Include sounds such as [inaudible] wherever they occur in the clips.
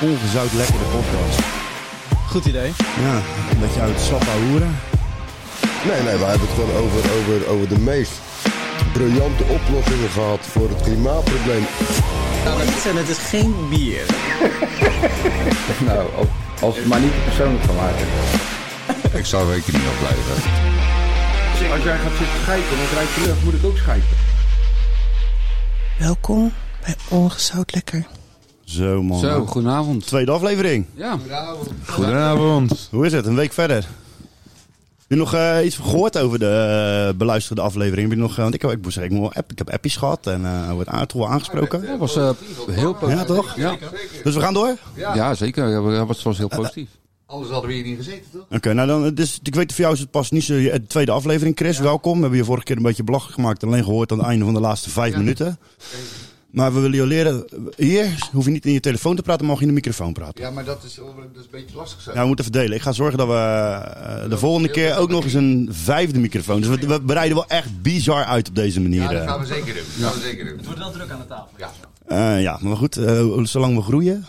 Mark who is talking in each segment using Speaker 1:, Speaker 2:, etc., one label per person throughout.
Speaker 1: ongezout lekkere podcast.
Speaker 2: Goed idee.
Speaker 1: Ja, een beetje uit Sappa hoeren.
Speaker 3: Nee, nee, wij hebben het gewoon over, over, over de meest briljante oplossingen gehad voor het klimaatprobleem.
Speaker 2: En het is geen bier.
Speaker 4: [laughs] Nou, als, als het maar niet te persoonlijk van maken.
Speaker 3: Ik zou weken niet afblijven.
Speaker 4: Als jij gaat zitten schijpen en het rijdt je lucht, moet ik ook schijpen.
Speaker 5: Welkom bij Ongezout Lekker.
Speaker 1: Zo man.
Speaker 6: Zo, Nou, goedenavond.
Speaker 1: Tweede aflevering.
Speaker 6: Ja,
Speaker 7: Goedenavond.
Speaker 1: Hoe is het? Een week verder. Heb je nog eh, iets gehoord over de eh, beluisterde aflevering? Heb je nog, eh, want ik heb, ik, moest zeggen, ik, moet wel app, ik heb appjes gehad en eh wordt aardig wel aangesproken.
Speaker 6: dat was eh, heel positief.
Speaker 1: Ja, toch?
Speaker 6: Ja,
Speaker 1: Dus we gaan door?
Speaker 6: ja zeker. Ja, Dat was, was heel positief.
Speaker 4: Anders hadden we hier niet gezeten, toch?
Speaker 1: Oké, nou dan, het is, ik weet voor jou is het pas niet zo eh, de tweede aflevering. Chris, welkom. We hebben je vorige keer een beetje belachelijk gemaakt. en Alleen gehoord aan het einde van de laatste vijf minuten. Maar we willen je leren, hier hoef je niet in je telefoon te praten, mag je in de microfoon praten.
Speaker 4: Ja, maar dat is, dat is een beetje lastig zo.
Speaker 1: Ja, we moeten verdelen. Ik ga zorgen dat we eh, de volgende keer ook nog eens een vijfde microfoon. Dus we, we bereiden wel echt bizar uit op deze manier.
Speaker 4: dat
Speaker 1: eh.
Speaker 4: gaan we zeker doen. Dat gaan we zeker doen.
Speaker 2: Wordt wel druk aan de tafel.
Speaker 4: Ja.
Speaker 1: Eh, ja, maar goed, eh, zolang we groeien,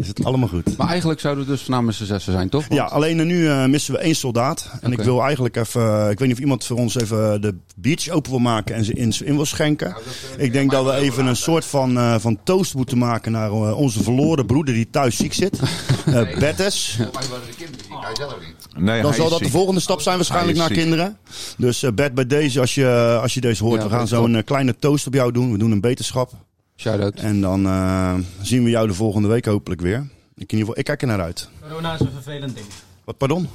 Speaker 1: is het allemaal goed.
Speaker 6: Maar eigenlijk zouden we dus namens z'n zessen zijn, toch?
Speaker 1: Ja, alleen eh, nu eh, missen we één soldaat. En ik
Speaker 6: Oké.
Speaker 1: wil eigenlijk even. eh, ik weet niet of iemand voor ons even de beach open wil maken en ze in, in wil schenken. ik denk Nou, dat we even een soort van, eh, van toast moeten maken naar eh, onze verloren broeder die thuis ziek zit.
Speaker 7: [laughs]
Speaker 1: Eh Bettes.
Speaker 4: Maar die waren de kinderen ziek, hij zelf niet.
Speaker 7: Nee,
Speaker 1: Dan
Speaker 7: hij
Speaker 1: zal
Speaker 7: is
Speaker 1: dat de
Speaker 7: ziek.
Speaker 1: volgende stap zijn waarschijnlijk
Speaker 7: Hij
Speaker 1: naar
Speaker 7: is ziek.
Speaker 1: kinderen. Dus eh Bert, bij deze, als je, eh, als je deze hoort,
Speaker 6: Ja,
Speaker 1: we gaan
Speaker 6: dat
Speaker 1: zo'n eh, kleine toast op jou doen. We doen een beterschap.
Speaker 6: Shout-out.
Speaker 1: En dan eh, zien we jou de volgende week hopelijk weer. Ik, in ieder geval, ik kijk er naar uit.
Speaker 2: Corona is een vervelend ding.
Speaker 1: Wat, pardon?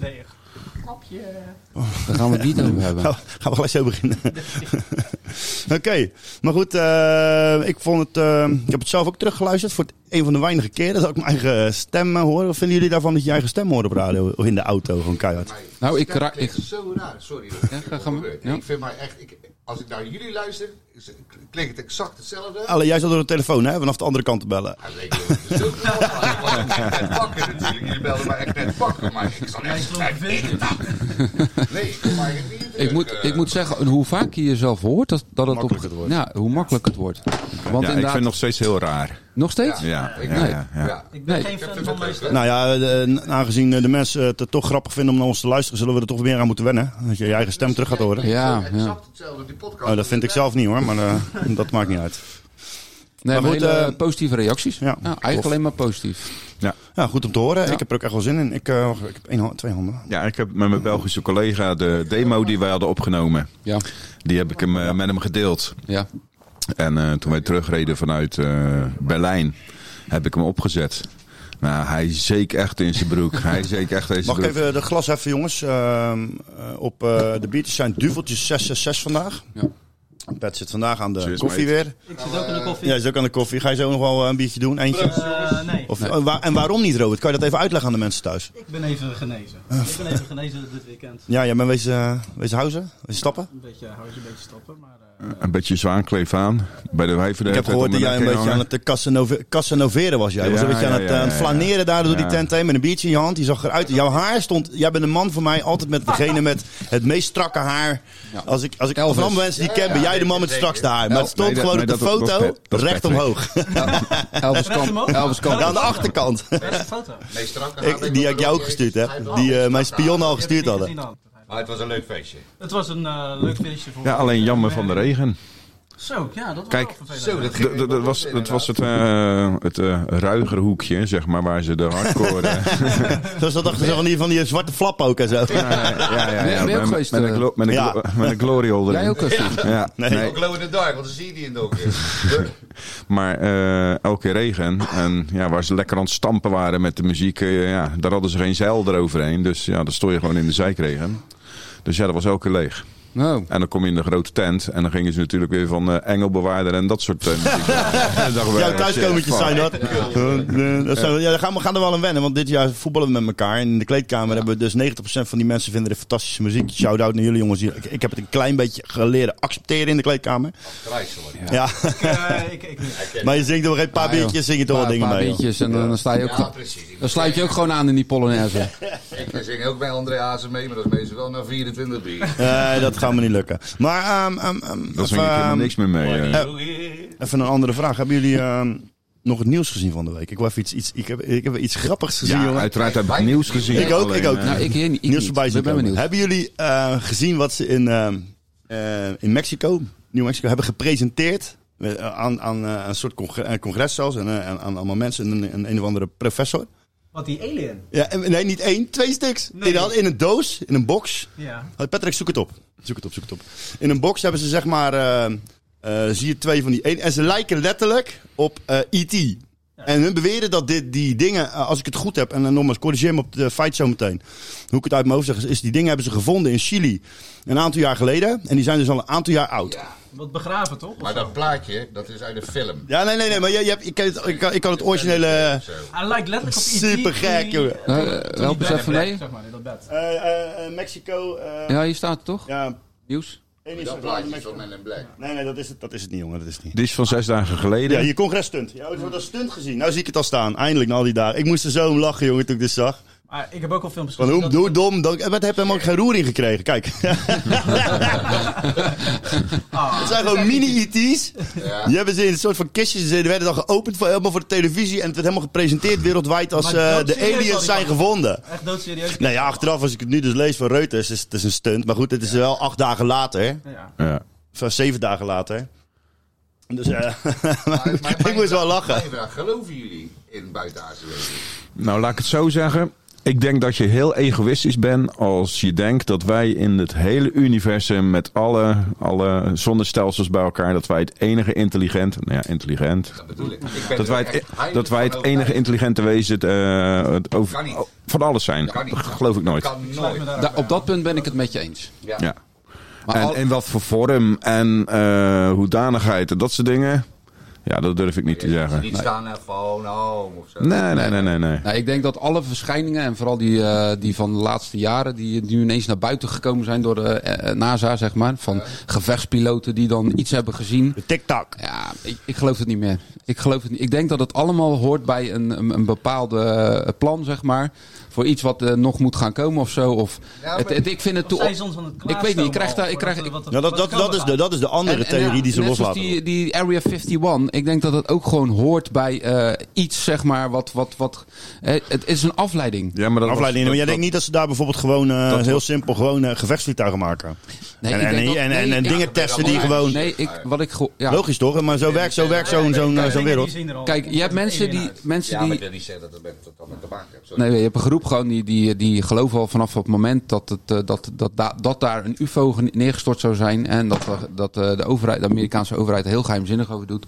Speaker 2: Nee,
Speaker 6: Daar gaan we het niet over hebben.
Speaker 1: Gaan we- Nou, gaan we gelijk zo beginnen. [laughs] Oké, maar goed, eh, ik vond het. eh, ik heb het zelf ook teruggeluisterd voor het, een van de weinige keren dat ik mijn eigen stem eh, hoor. Wat vinden jullie daarvan dat je je eigen stem hoort op radio of in de auto gewoon keihard?
Speaker 6: Nou, ik, ra-
Speaker 4: Dat
Speaker 6: ik,
Speaker 4: klinkt zo raar, sorry. Dat is
Speaker 6: ga- ga maar.
Speaker 4: gebeurd.
Speaker 6: Ja.
Speaker 4: Ik vind mij echt, ik, als ik naar jullie luister, is- klinkt het exact hetzelfde.
Speaker 1: Allee, jij zat door de telefoon, hè? Vanaf de andere kant te bellen.
Speaker 4: Ja, zeker. Het is zo [laughs] knap. Ik was ook net wakker natuurlijk. Jullie belden mij echt net wakker, maar ik zat
Speaker 2: ik
Speaker 4: echt...
Speaker 2: geloof het
Speaker 4: Nee,
Speaker 2: niet.
Speaker 4: ik kon mij echt niet
Speaker 6: ik, moet,
Speaker 4: eh,
Speaker 6: ik moet zeggen, hoe vaak je jezelf hoort, dat, dat het, op,
Speaker 1: Makkelijk het wordt.
Speaker 6: Ja, hoe makkelijk het wordt. Want
Speaker 7: Ja, ik vind
Speaker 6: inderdaad,
Speaker 7: het nog steeds heel raar.
Speaker 6: nog steeds?
Speaker 7: Ja,
Speaker 4: Ik-
Speaker 7: ja,
Speaker 6: nee.
Speaker 7: ja, ja.
Speaker 4: Ja.
Speaker 2: Ik ben
Speaker 6: Nee.
Speaker 2: geen fan van mijn stem.
Speaker 1: Nou ja, eh, aangezien eh, de mensen het eh, toch grappig vinden om naar ons te luisteren, zullen we er toch weer aan moeten wennen. Dat je je eigen stem terug gaat horen.
Speaker 6: Ja,
Speaker 4: exact
Speaker 6: ja.
Speaker 4: hetzelfde die podcast.
Speaker 1: Oh, dat vind ik zelf niet hoor, maar eh, dat maakt niet uit.
Speaker 6: Nee, maar
Speaker 1: goed,
Speaker 6: hele
Speaker 1: eh,
Speaker 6: positieve reacties.
Speaker 1: ja,
Speaker 6: Ja, eigenlijk alleen maar positief.
Speaker 1: Ja, goed om te horen. Ik heb er ook echt wel zin in. Ik, eh, wacht, ik heb één, hand- twee handen.
Speaker 7: Ja, ik heb met mijn Belgische collega de demo die wij hadden opgenomen,
Speaker 6: Ja,
Speaker 7: die heb ik hem, eh, met hem gedeeld.
Speaker 6: ja.
Speaker 7: En eh, toen wij terugreden vanuit eh, Berlijn, heb ik hem opgezet. Nou, hij zeek echt in zijn broek. Hij zeek echt in zijn
Speaker 1: Mag ik
Speaker 7: broek.
Speaker 1: even de glas heffen, jongens? Ehm, eh, op eh, de biertjes zijn duveltjes 666 vandaag.
Speaker 6: Ja.
Speaker 1: Pet zit vandaag aan de
Speaker 7: Cheers,
Speaker 1: koffie
Speaker 7: mate.
Speaker 1: weer.
Speaker 2: Ik zit ook in de koffie.
Speaker 1: Ja, is ook aan de koffie. Ga je zo nog wel eh, een biertje doen? Eentje?
Speaker 2: Eh, nee,
Speaker 1: Of, eh, waar- en waarom niet, Robert? Kan je dat even uitleggen aan de mensen thuis?
Speaker 2: ik ben even genezen. Ik ben even genezen dit weekend.
Speaker 1: Ja, jij bent wezen, eh, wezen huizen? Wezen stappen?
Speaker 2: Een beetje houtje, een beetje stappen, maar... eh,
Speaker 7: Een beetje zwaankleef aan. Bij de wijven
Speaker 1: Ik heb gehoord dat jij een beetje aan het eh, Casanova- Casanoveren was. Jij was een
Speaker 7: Ja,
Speaker 1: beetje aan
Speaker 7: ja,
Speaker 1: het,
Speaker 7: ja,
Speaker 1: eh, aan het
Speaker 7: ja,
Speaker 1: flaneren daar door die
Speaker 7: Ja.
Speaker 1: tent heen met een biertje in je hand. Je zag eruit. Jouw haar stond... Jij bent een man voor mij altijd met degene met het meest strakke haar.
Speaker 6: Ja.
Speaker 1: Als ik, als ik
Speaker 6: Elvis.
Speaker 1: van alle mensen die ik ken, ben jij de man met het strakste haar. Maar het stond
Speaker 7: Nee, dat-
Speaker 1: gewoon
Speaker 7: nee,
Speaker 1: op de
Speaker 7: dat was-
Speaker 1: foto
Speaker 7: dat was
Speaker 1: recht
Speaker 7: Patrick. [laughs]
Speaker 1: omhoog.
Speaker 2: [laughs]
Speaker 6: Elvis
Speaker 2: Recht
Speaker 6: kan,
Speaker 2: omhoog?
Speaker 6: Elvis
Speaker 1: Ja, aan
Speaker 6: kan.
Speaker 1: de achterkant.
Speaker 2: waar is de foto?
Speaker 4: Nee, strakke
Speaker 1: Ik-
Speaker 4: haat,
Speaker 1: die heb
Speaker 4: wil
Speaker 1: ik jou
Speaker 4: er
Speaker 1: ook
Speaker 4: niet
Speaker 1: gestuurd,
Speaker 4: eens.
Speaker 1: hè?
Speaker 4: Hij wil
Speaker 1: Die eh,
Speaker 4: alles
Speaker 1: mijn
Speaker 4: strakke haat.
Speaker 1: spionnen al
Speaker 2: Die heb ik
Speaker 1: gestuurd
Speaker 2: niet
Speaker 1: hadden.
Speaker 2: gezien dan.
Speaker 4: Maar het was een leuk feestje.
Speaker 2: Het was een eh, leuk feestje voor
Speaker 7: Ja, alleen jammer van de regen.
Speaker 2: Zo, ja, dat was
Speaker 7: Kijk,
Speaker 2: wel vervelend.
Speaker 4: Zo, dat ging
Speaker 7: Dat, dat- dat was, dat was het, eh het eh, ruigere hoekje, zeg maar, waar ze de hardcore... eh,
Speaker 1: Dus dat dachten ze van die, van die zwarte flap ook en zo.
Speaker 7: ja, ja,
Speaker 6: Ben je
Speaker 7: ja.
Speaker 6: ook
Speaker 7: Met,
Speaker 6: geweest,
Speaker 7: met, een,
Speaker 6: eh?
Speaker 7: glo- met, een,
Speaker 1: Ja.
Speaker 7: glo- met een glory hole erin.
Speaker 6: Jij ook, Kastien?
Speaker 7: Ja, nee.
Speaker 1: Nee.
Speaker 4: Glow in the dark, want dan zie je die in het donker.
Speaker 7: Maar eh, elke keer regen. En ja, waar ze lekker aan het stampen waren met de muziek, eh, ja, daar hadden ze geen zeil eroverheen. Dus ja, dan stond je gewoon in de zijkregen. Dus ja, dat was elke keer leeg.
Speaker 6: Nou,
Speaker 7: En dan kom je in de grote tent. En dan gingen ze natuurlijk weer van eh, engelbewaarder en dat soort eh,
Speaker 1: [laughs]
Speaker 7: muziek. En dan dachten we,
Speaker 1: Jouw
Speaker 7: eh,
Speaker 1: thuiskomertjes
Speaker 7: shit,
Speaker 1: zijn dat. Eh, dat zijn- Ja, daar gaan we gaan er wel aan wennen, want dit jaar voetballen we met elkaar. En in de kleedkamer hebben we dus 90% van die mensen vinden dit fantastische muziek. Shout-out naar jullie jongens. hier. Ik, ik heb het een klein beetje geleren accepteren in de kleedkamer.
Speaker 4: Kruiselijk.
Speaker 1: Ja,
Speaker 2: [laughs] Eh, ik, ik niet.
Speaker 1: maar je zingt er wel geen paar
Speaker 6: Ah, joh.
Speaker 1: biertjes, zing je toch wel
Speaker 6: een
Speaker 1: dingen
Speaker 6: paar
Speaker 1: mee. joh.
Speaker 6: biertjes en dan, dan sta je ook...
Speaker 4: Ja, precies. Ik
Speaker 6: Dan sluit je ook gewoon aan in die Polonaise.
Speaker 4: Ik zing ook bij André Hazen mee, maar dat is meestal wel na 24 bier.
Speaker 1: Eh, dat gaat me niet lukken. Maar ehm, ehm, ehm,
Speaker 7: Daar
Speaker 1: even,
Speaker 7: zing ik helemaal
Speaker 1: ehm,
Speaker 7: niks meer mee. eh.
Speaker 1: even een andere vraag. Hebben jullie ehm, nog het nieuws gezien van de week? Ik, wil even iets, iets, ik, heb, ik heb iets grappigs gezien,
Speaker 7: Ja,
Speaker 1: jongen.
Speaker 7: uiteraard heb ik het nieuws gezien.
Speaker 1: Ik ook, ik
Speaker 7: Alleen,
Speaker 1: ook.
Speaker 7: eh,
Speaker 6: Nou, ik hier niet. Ik
Speaker 1: nieuws
Speaker 6: niet.
Speaker 1: voorbij zien
Speaker 6: Ik ben
Speaker 1: komen.
Speaker 6: benieuwd.
Speaker 1: Hebben jullie eh, gezien wat ze in, ehm, eh, in Mexico, New Mexico, hebben gepresenteerd? Eh, Aan, aan eh, een soort congre- eh, congres zelfs, en, eh, aan, aan allemaal mensen, en een, een, een of andere professor.
Speaker 2: Wat die alien.
Speaker 1: Ja, en- nee, niet één, twee stuks.
Speaker 2: Nee.
Speaker 1: In, in een doos, in een box.
Speaker 2: Ja.
Speaker 1: Hey, Patrick, zoek het op. Zoek het op, zoek het op. In een box hebben ze zeg maar, eh, eh, zie je twee van die één. En ze lijken letterlijk op eh, E.T. En hun beweren dat dit, die dingen, eh, als ik het goed heb, en dan nogmaals, corrigeer me op de feit zo meteen. Hoe ik het uit mijn hoofd zeg, is, is die dingen hebben ze gevonden in Chili een aantal jaar geleden. En die zijn dus al een aantal jaar oud. Ja,
Speaker 2: Wat begraven toch? Of
Speaker 4: Maar
Speaker 2: zo?
Speaker 4: dat plaatje, dat is uit een film.
Speaker 1: nee, nee, nee, maar je, je hebt, ik, kan het, ik, kan, ik kan het originele... eh,
Speaker 4: Zo.
Speaker 2: Hij lijkt letterlijk op E E.T.
Speaker 1: Supergek,
Speaker 2: die-
Speaker 1: jongen.
Speaker 2: die
Speaker 6: Nou, eh, help eens
Speaker 2: bed-
Speaker 6: even mee.
Speaker 2: Zeg maar, in dat bed.
Speaker 1: eh, eh, eh, Mexico, eh, ja,
Speaker 6: Ja, hier staat het toch? Nieuws.
Speaker 1: één is
Speaker 4: Dat
Speaker 1: er-
Speaker 4: plaatje is van Men in Black.
Speaker 1: Nee, nee, dat is het, dat is het niet, jongen, dat is het niet.
Speaker 7: Die is van zes dagen geleden.
Speaker 1: Ja, je congresstunt. Ja, ik had dat stunt gezien. Nou zie ik het al staan. Eindelijk na al die dagen. Ik moest er zo om lachen, jongen, toen ik dit zag.
Speaker 2: Maar ik heb ook al filmpjes
Speaker 1: Van
Speaker 2: gezien
Speaker 1: hoe,
Speaker 2: dat-
Speaker 1: hoe dom. Dan, wat heb hem ook geen roering gekregen? Kijk. [laughs]
Speaker 2: Ah,
Speaker 1: Het zijn gewoon E mini-ET's.
Speaker 4: Ja.
Speaker 1: Die hebben ze in een soort van kistjes. Die werden dan geopend voor, helemaal voor de televisie. En het werd helemaal gepresenteerd wereldwijd als
Speaker 2: Maar
Speaker 1: eh,
Speaker 2: dat
Speaker 1: de
Speaker 2: serieus al
Speaker 1: aliens
Speaker 2: die
Speaker 1: zijn
Speaker 2: man.
Speaker 1: gevonden.
Speaker 2: Echt doodserieus.
Speaker 1: Nou ja, achteraf als ik het nu dus lees van Reuters, is het is een stunt. Maar goed, het is wel acht dagen later.
Speaker 2: Ja.
Speaker 7: Ja.
Speaker 1: Of eh, zeven dagen later. Dus eh,
Speaker 4: Maar- maar
Speaker 1: [laughs] ik moest wel lachen.
Speaker 4: mijn vraag, Geloven jullie in buitenaardse wezens?
Speaker 7: Nou, laat ik het zo zeggen. Ik denk dat je heel egoïstisch bent als je denkt dat wij in het hele universum met alle, alle zonnestelsels bij elkaar, dat wij het enige intelligent, nou ja, intelligent,
Speaker 4: Dat bedoel ik. ik ben
Speaker 7: dat
Speaker 4: er
Speaker 7: wij
Speaker 4: echt
Speaker 7: het, e-
Speaker 4: heilig
Speaker 7: dat wij het
Speaker 4: van
Speaker 7: enige
Speaker 4: overtuigd.
Speaker 7: intelligente wezen eh, het over,
Speaker 4: Kan niet.
Speaker 7: o- van alles zijn.
Speaker 4: Kan niet.
Speaker 7: Dat geloof ik nooit.
Speaker 4: Kan
Speaker 2: Sluit me
Speaker 4: nooit.
Speaker 2: daar
Speaker 6: Da-
Speaker 2: ook bij
Speaker 6: op dat punt ben ik het met je eens.
Speaker 4: Ja.
Speaker 7: Ja.
Speaker 6: Maar
Speaker 7: En
Speaker 6: al-
Speaker 7: in wat voor vorm en eh, hoedanigheid en dat soort dingen, ja, dat durf ik niet te
Speaker 4: Je ziet
Speaker 7: zeggen.
Speaker 4: Niet staan en van home of zo.
Speaker 7: Nee, nee, nee, nee, nee.
Speaker 6: Nou, ik denk dat alle verschijningen, en vooral die, eh, die van de laatste jaren, die nu ineens naar buiten gekomen zijn door de eh, eh, NASA, zeg maar. Van gevechtspiloten die dan iets hebben gezien.
Speaker 1: Tic-tac.
Speaker 6: Ja, ik, ik geloof het niet meer. Ik geloof het niet. Ik denk dat het allemaal hoort bij een, een, een bepaalde eh, plan, zeg maar. Voor iets wat eh, nog moet gaan komen of zo. Of,
Speaker 4: Ja, maar-
Speaker 6: het, het- ik vind het
Speaker 2: Of
Speaker 6: toe.
Speaker 2: zijn ze ons aan het
Speaker 6: ik weet niet, ik krijg daar. Ik krijg,
Speaker 2: klaarstomen al voor
Speaker 1: Ja, Nou, dat,
Speaker 2: wat
Speaker 1: dat,
Speaker 2: er komen
Speaker 1: dat, is
Speaker 2: gaat?
Speaker 1: de, dat is de andere
Speaker 6: En- en
Speaker 1: theorie
Speaker 6: ja,
Speaker 1: die ze
Speaker 6: net zoals
Speaker 1: loslaten.
Speaker 6: Die, die Area 51, ik denk dat het ook gewoon hoort bij eh, iets, zeg maar, wat... wat, wat eh, het is een afleiding.
Speaker 7: Ja, maar dat was-
Speaker 1: afleiding. Maar jij
Speaker 7: dat-
Speaker 1: denkt niet dat ze daar bijvoorbeeld gewoon eh,
Speaker 7: Dat-
Speaker 1: heel simpel gewoon eh, gevechtsvliegtuigen maken.
Speaker 6: Nee,
Speaker 1: en
Speaker 6: ik
Speaker 1: en,
Speaker 6: denk dat-
Speaker 1: en, en,
Speaker 6: nee,
Speaker 1: en
Speaker 6: ja,
Speaker 1: dingen
Speaker 4: dat
Speaker 1: testen
Speaker 4: ben
Speaker 1: die
Speaker 4: ik allemaal
Speaker 1: gewoon.
Speaker 6: Nee, ik, wat ik... geho- Ja.
Speaker 1: Logisch toch? Maar zo werkt zo werkt zo'n zo'n eh, zo'n
Speaker 2: Dingen die
Speaker 1: wereld.
Speaker 2: zien er al.
Speaker 6: Kijk, je hebt mensen die... Mensen
Speaker 4: Ja, maar
Speaker 6: die
Speaker 4: ik wil niet zeggen dat het met, dat dat met te maken heeft. Sorry.
Speaker 6: Nee, je hebt een groep gewoon die, die, die geloven al vanaf het moment dat, het, eh, dat, dat, dat, dat daar een UFO gene- neergestort zou zijn. En dat, er- dat eh, de, overheid, de Amerikaanse overheid er heel geheimzinnig over doet.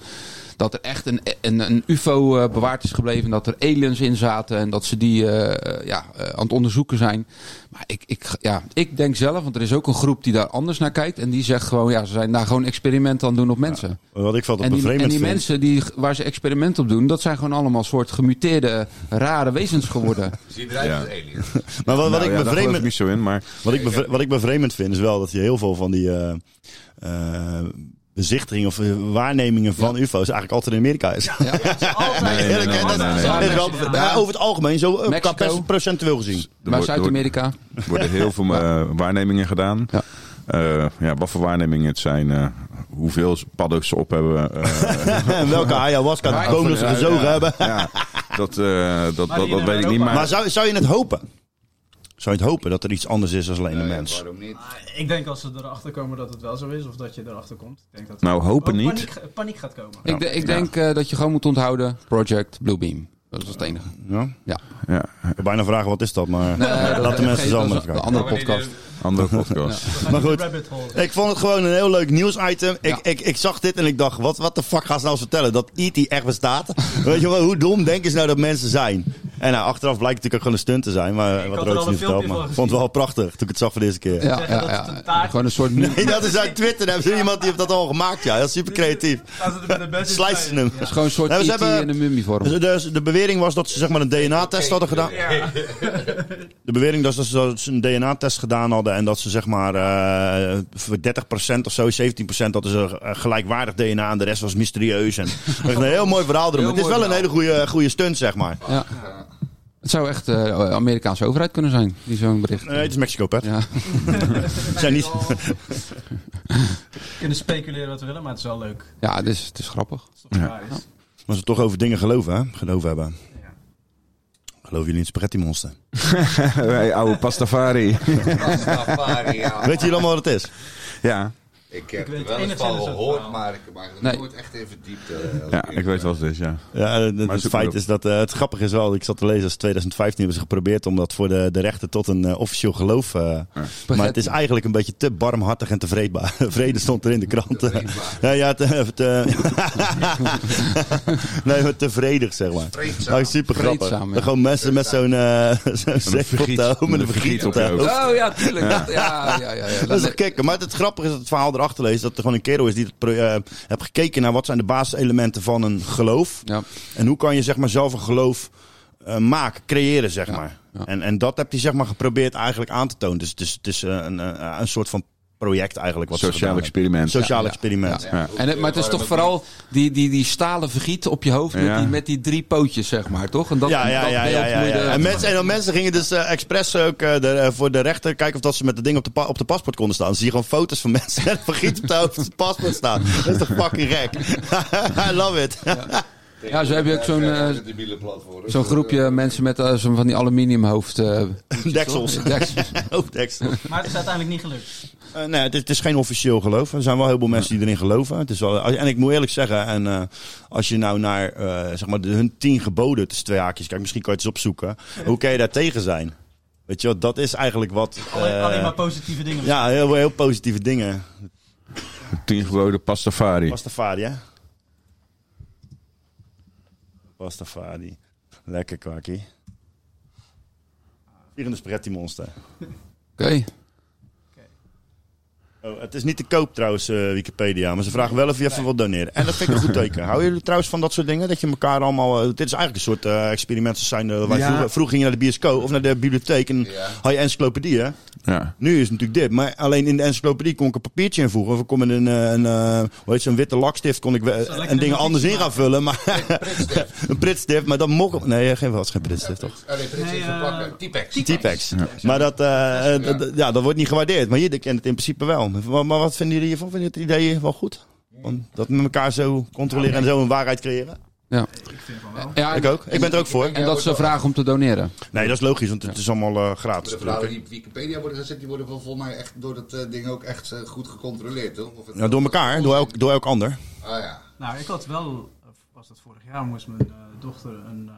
Speaker 6: Dat er echt een, een, een UFO eh, bewaard is gebleven. En dat er aliens in zaten. En dat ze die eh, eh, ja, eh, aan het onderzoeken zijn. Maar ik, ik, ja, ik denk zelf, want er is ook een groep die daar anders naar kijkt. En die zegt gewoon, ja, ze zijn daar gewoon experimenten aan het doen op mensen.
Speaker 1: Wat ik valt op
Speaker 6: En
Speaker 1: een
Speaker 6: die, en
Speaker 1: vreemd
Speaker 6: die
Speaker 1: vind.
Speaker 6: mensen die, waar ze experimenten op doen, dat zijn gewoon allemaal soort gemuteerde, rare wezens geworden.
Speaker 4: Ziet eruit
Speaker 7: Ja.
Speaker 4: als alien.
Speaker 1: Maar wat, wat ik
Speaker 7: Nou ja, daar geloof ik
Speaker 1: bevreemd
Speaker 7: niet zo in, maar...
Speaker 1: wat ik bevre- wat ik bevreemd vind is wel dat je heel veel van die eh, eh, bezichtigingen of eh, waarnemingen van UFO's eigenlijk altijd in Amerika is.
Speaker 2: Altijd.
Speaker 7: nee, nee, nee,
Speaker 2: Altijd.
Speaker 7: nee, nee.
Speaker 1: Dat is wel
Speaker 2: Ja.
Speaker 1: bev- maar Over het algemeen, zo eh, qua
Speaker 6: Mexico.
Speaker 1: perc- procentueel
Speaker 7: [laughs]
Speaker 1: gezien.
Speaker 7: Er
Speaker 6: maar
Speaker 7: wordt- er wordt-
Speaker 6: Zuid-Amerika.
Speaker 7: Er worden heel veel eh, waarnemingen gedaan.
Speaker 6: Ja.
Speaker 7: Eh, ja, wat voor waarnemingen het zijn, eh, hoeveel paddo's ze op
Speaker 1: [laughs]
Speaker 7: hebben. eh,
Speaker 1: En [laughs] welke
Speaker 6: Maar-
Speaker 1: ayahuasca komen ze
Speaker 7: ja,
Speaker 1: gezogen
Speaker 7: ja.
Speaker 1: hebben.
Speaker 7: ja, dat, eh, dat,
Speaker 2: Maar
Speaker 7: dat,
Speaker 2: die
Speaker 7: dat
Speaker 2: in
Speaker 7: weet ik niet.
Speaker 2: Europa-
Speaker 7: Maar,
Speaker 1: Maar zou, zou je het hopen? Zou je het hopen dat er iets anders is dan alleen een mens?
Speaker 4: Waarom niet?
Speaker 2: Maar eh, Ik denk als ze erachter komen dat het wel zo is, of dat je erachter komt. Ik denk dat
Speaker 7: nou, hopen
Speaker 2: ook
Speaker 7: niet.
Speaker 2: Paniek, paniek gaat komen.
Speaker 6: Ik, de- ik denk eh, dat je gewoon moet onthouden, Project Bluebeam. Dat is het enige.
Speaker 1: Ja?
Speaker 6: Ja.
Speaker 7: Ja,
Speaker 1: Ik wil bijna vragen wat is dat, maar
Speaker 6: Eh,
Speaker 1: laat
Speaker 6: dat-
Speaker 1: de mensen
Speaker 6: dat
Speaker 1: zelf
Speaker 6: is
Speaker 1: maar
Speaker 6: een-
Speaker 1: even
Speaker 6: Een
Speaker 1: kijken.
Speaker 6: andere podcast.
Speaker 1: [laughs]
Speaker 7: andere podcast.
Speaker 1: Maar goed.
Speaker 2: Rabbit hole.
Speaker 1: Ik vond het gewoon een heel leuk nieuwsitem. Ik,
Speaker 6: Ja.
Speaker 1: ik, ik zag dit en ik dacht, wat, wat de fuck gaan ze nou eens vertellen? Dat E.T. echt bestaat? [laughs] Weet je wel, hoe dom denken ze nou dat mensen zijn? En nou, achteraf blijkt het natuurlijk ook gewoon een stunt te zijn. Maar
Speaker 2: Ik
Speaker 1: wat
Speaker 2: had
Speaker 1: Rood
Speaker 2: er al een
Speaker 1: niet verteld,
Speaker 2: filmpje
Speaker 1: maar
Speaker 2: van
Speaker 1: ik vond het wel prachtig toen ik het zag voor de eerste keer.
Speaker 6: Ja,
Speaker 2: Zeggen
Speaker 6: ja,
Speaker 2: dat het
Speaker 6: ja.
Speaker 2: een taart-
Speaker 6: Gewoon een soort... meme.
Speaker 1: Hey, [laughs] dat is uit Twitter. Daar hebben ze iemand die heeft dat al gemaakt. Ja, dat is super creatief.
Speaker 2: Gaan ze er met de beste
Speaker 1: Slijten
Speaker 2: zijn?
Speaker 1: ze hem.
Speaker 6: Het is gewoon een soort
Speaker 1: Nou, ze
Speaker 6: E.T.
Speaker 1: hebben-
Speaker 6: in een mummievorm.
Speaker 1: Dus De, de bewering was dat ze zeg maar een DNA-test hadden gedaan.
Speaker 2: Ja.
Speaker 1: [laughs] De bewering was dat ze, dat ze een DNA-test gedaan hadden en dat ze zeg maar eh, voor 30% of zo, 17% dat is een eh, gelijkwaardig DNA en de rest was mysterieus. En echt een heel mooi verhaal erom.
Speaker 6: Heel
Speaker 1: het is
Speaker 6: mooi
Speaker 1: wel een hele goede, goede stunt, zeg maar.
Speaker 6: Ja. Het zou echt de Amerikaanse overheid kunnen zijn, die zo'n bericht.
Speaker 1: Nee, het is Mexico, Pet.
Speaker 6: Ja.
Speaker 1: Het [laughs] zijn niet...
Speaker 2: [laughs] kunnen speculeren wat we willen, maar het is wel leuk.
Speaker 6: Ja, het is, het is grappig.
Speaker 2: Als het toch waar is.
Speaker 1: Maar ze toch over dingen geloven, hè? Geloof hebben. Geloven jullie in het spaghetti monster?
Speaker 7: Wij oude pastafari.
Speaker 4: Rastafari, ja.
Speaker 1: Weet jullie allemaal wat het is?
Speaker 7: [laughs] ja,
Speaker 4: Ik heb
Speaker 2: Ik weet
Speaker 4: er wel eens
Speaker 2: enigszins
Speaker 4: van
Speaker 2: het
Speaker 4: gehoord,
Speaker 2: verhaal.
Speaker 4: maar ik heb er
Speaker 6: Nee.
Speaker 4: nooit echt in verdiept. eh, als
Speaker 7: ja, ik weet wat het is, ja.
Speaker 1: Ja, eh, het- het,
Speaker 7: Maar zoek maar
Speaker 1: feit
Speaker 7: op.
Speaker 1: is dat eh, het grappige is wel, ik zat te lezen, als 2015 hebben ze geprobeerd om dat voor de, de rechter tot een eh, officieel geloof. eh, Maar het is eigenlijk een beetje te barmhartig en te vreedbaar. [laughs] Vrede stond er in de krant. [laughs] ja, ja, te, [laughs] te- nee, maar te vredig, zeg maar.
Speaker 4: Vreedzaam.
Speaker 1: Ja, super grappig.
Speaker 6: Vreedzaam, ja.
Speaker 1: Gewoon mensen met zo'n eh [laughs] zo'n zeep op
Speaker 7: vergiet.
Speaker 1: de hoofd, met een
Speaker 7: Met een
Speaker 1: vergiet op de
Speaker 7: vergiet op
Speaker 1: hoofd.
Speaker 7: je
Speaker 6: Oh ja, tuurlijk. Ja, ja, ja. ja, ja.
Speaker 1: Dat is toch kicken. Maar het grappige is dat het verhaal erachter leest. Dat er gewoon een kerel is die het pro- eh, heeft gekeken naar wat zijn de basiselementen van een geloof.
Speaker 6: Ja.
Speaker 1: En hoe kan je zeg maar, zelf een geloof eh, maken, creëren, zeg maar.
Speaker 6: ja.
Speaker 1: En, en dat heb je zeg maar, geprobeerd eigenlijk aan te tonen. Dus het is, het is eh, een, eh, een soort van project eigenlijk. Wat ze
Speaker 7: Sociaal
Speaker 1: gedaan hebben.
Speaker 7: experiment.
Speaker 1: Sociaal
Speaker 6: Ja,
Speaker 1: experiment.
Speaker 6: Ja. En het, maar het is toch vooral die, die, die stalen vergiet op je hoofd met,
Speaker 7: Ja.
Speaker 6: die, met die drie pootjes, zeg maar, toch? En dat,
Speaker 1: Ja, ja,
Speaker 6: dat
Speaker 1: ja,
Speaker 6: beeld
Speaker 1: ja, ja,
Speaker 6: moet je
Speaker 1: ja.
Speaker 6: er-
Speaker 1: En, mensen, en dan mensen gingen dus eh, expres ook eh, de- eh, voor de rechter kijken of dat ze met dat ding op de, pa- op de paspoort konden staan. Dan zie je gewoon foto's van mensen [laughs] met vergiet op de hoofd op het paspoort staan. Dat is toch fucking gek? [laughs] I love it. [laughs]
Speaker 6: Ja, zo heb je ook zo'n, eh, Zo'n groepje mensen met eh, zo'n van die aluminiumhoofd. eh,
Speaker 1: [laughs] Deksels.
Speaker 6: [laughs] deksels.
Speaker 1: Hoofddeksel.
Speaker 2: Maar het is uiteindelijk niet gelukt.
Speaker 1: Eh, nee, het, is- het is geen officieel geloof. Er zijn wel heel veel mensen die erin geloven. Het is wel, en ik moet eerlijk zeggen, en, eh, als je nou naar eh, zeg maar de, hun tien geboden tussen twee haakjes kijkt, misschien kan je het eens opzoeken. Hoe kan je daar tegen zijn? Weet je wel, dat is eigenlijk wat.
Speaker 2: Alleen,
Speaker 1: eh,
Speaker 2: alleen maar positieve dingen.
Speaker 1: ja, heel, heel positieve dingen.
Speaker 7: Tien geboden pastafari.
Speaker 1: Pastafari, hè? Pastafari. Lekker kwakkie. Vierende spaghetti monster.
Speaker 6: Oké.
Speaker 1: Oh, het is niet te koop trouwens, eh, Wikipedia. Maar ze vragen wel of je even wilt doneren. En dat vind ik een goed teken. Hou jullie trouwens van dat soort dingen? Dat je elkaar allemaal... eh, dit is eigenlijk een soort eh experiment. Zijn, wij
Speaker 7: Ja.
Speaker 1: vroeger, vroeger ging je naar de bioscoop of naar de bibliotheek. En
Speaker 4: Ja.
Speaker 1: had je encyclopedie, hè?
Speaker 7: Ja.
Speaker 1: Nu is het natuurlijk dit. Maar alleen in de encyclopedie kon ik een papiertje invoegen. Of ik kon met een, eh, een, eh, hoe heet zo'n witte lakstift... kon ik we-
Speaker 2: lekker
Speaker 1: en dingen
Speaker 2: een
Speaker 1: anders in
Speaker 2: notitie
Speaker 1: gaan vullen. Maar [laughs] een pritstift, maar dat mocht... Nee, geen, was geen pritstift, toch?
Speaker 4: Allee, Frits
Speaker 2: Nee,
Speaker 4: is
Speaker 2: eh,
Speaker 4: verpakken. T-Pex.
Speaker 1: T-Pex. Maar dat, eh, eh, dat- ja, dat wordt niet gewaardeerd. Maar jullie kennen het in principe wel. Maar, maar wat vinden jullie hiervan? Vinden jullie het idee wel goed? Om dat met elkaar zo controleren en zo een waarheid creëren?
Speaker 6: Ja. Ja,
Speaker 1: Ik ook. Ik ben er ook voor.
Speaker 6: En dat is een vraag om te doneren.
Speaker 1: Nee, dat is logisch, want het is allemaal eh, gratis.
Speaker 4: De verhalen die op Wikipedia worden gezet, die worden wel volgens mij echt door dat eh, ding ook echt eh, goed gecontroleerd, toch? Of het-
Speaker 1: Ja, door elkaar, door elk, door elk ander.
Speaker 4: Ah ja.
Speaker 2: Nou, ik had wel, of was dat vorig jaar, moest mijn eh, dochter een eh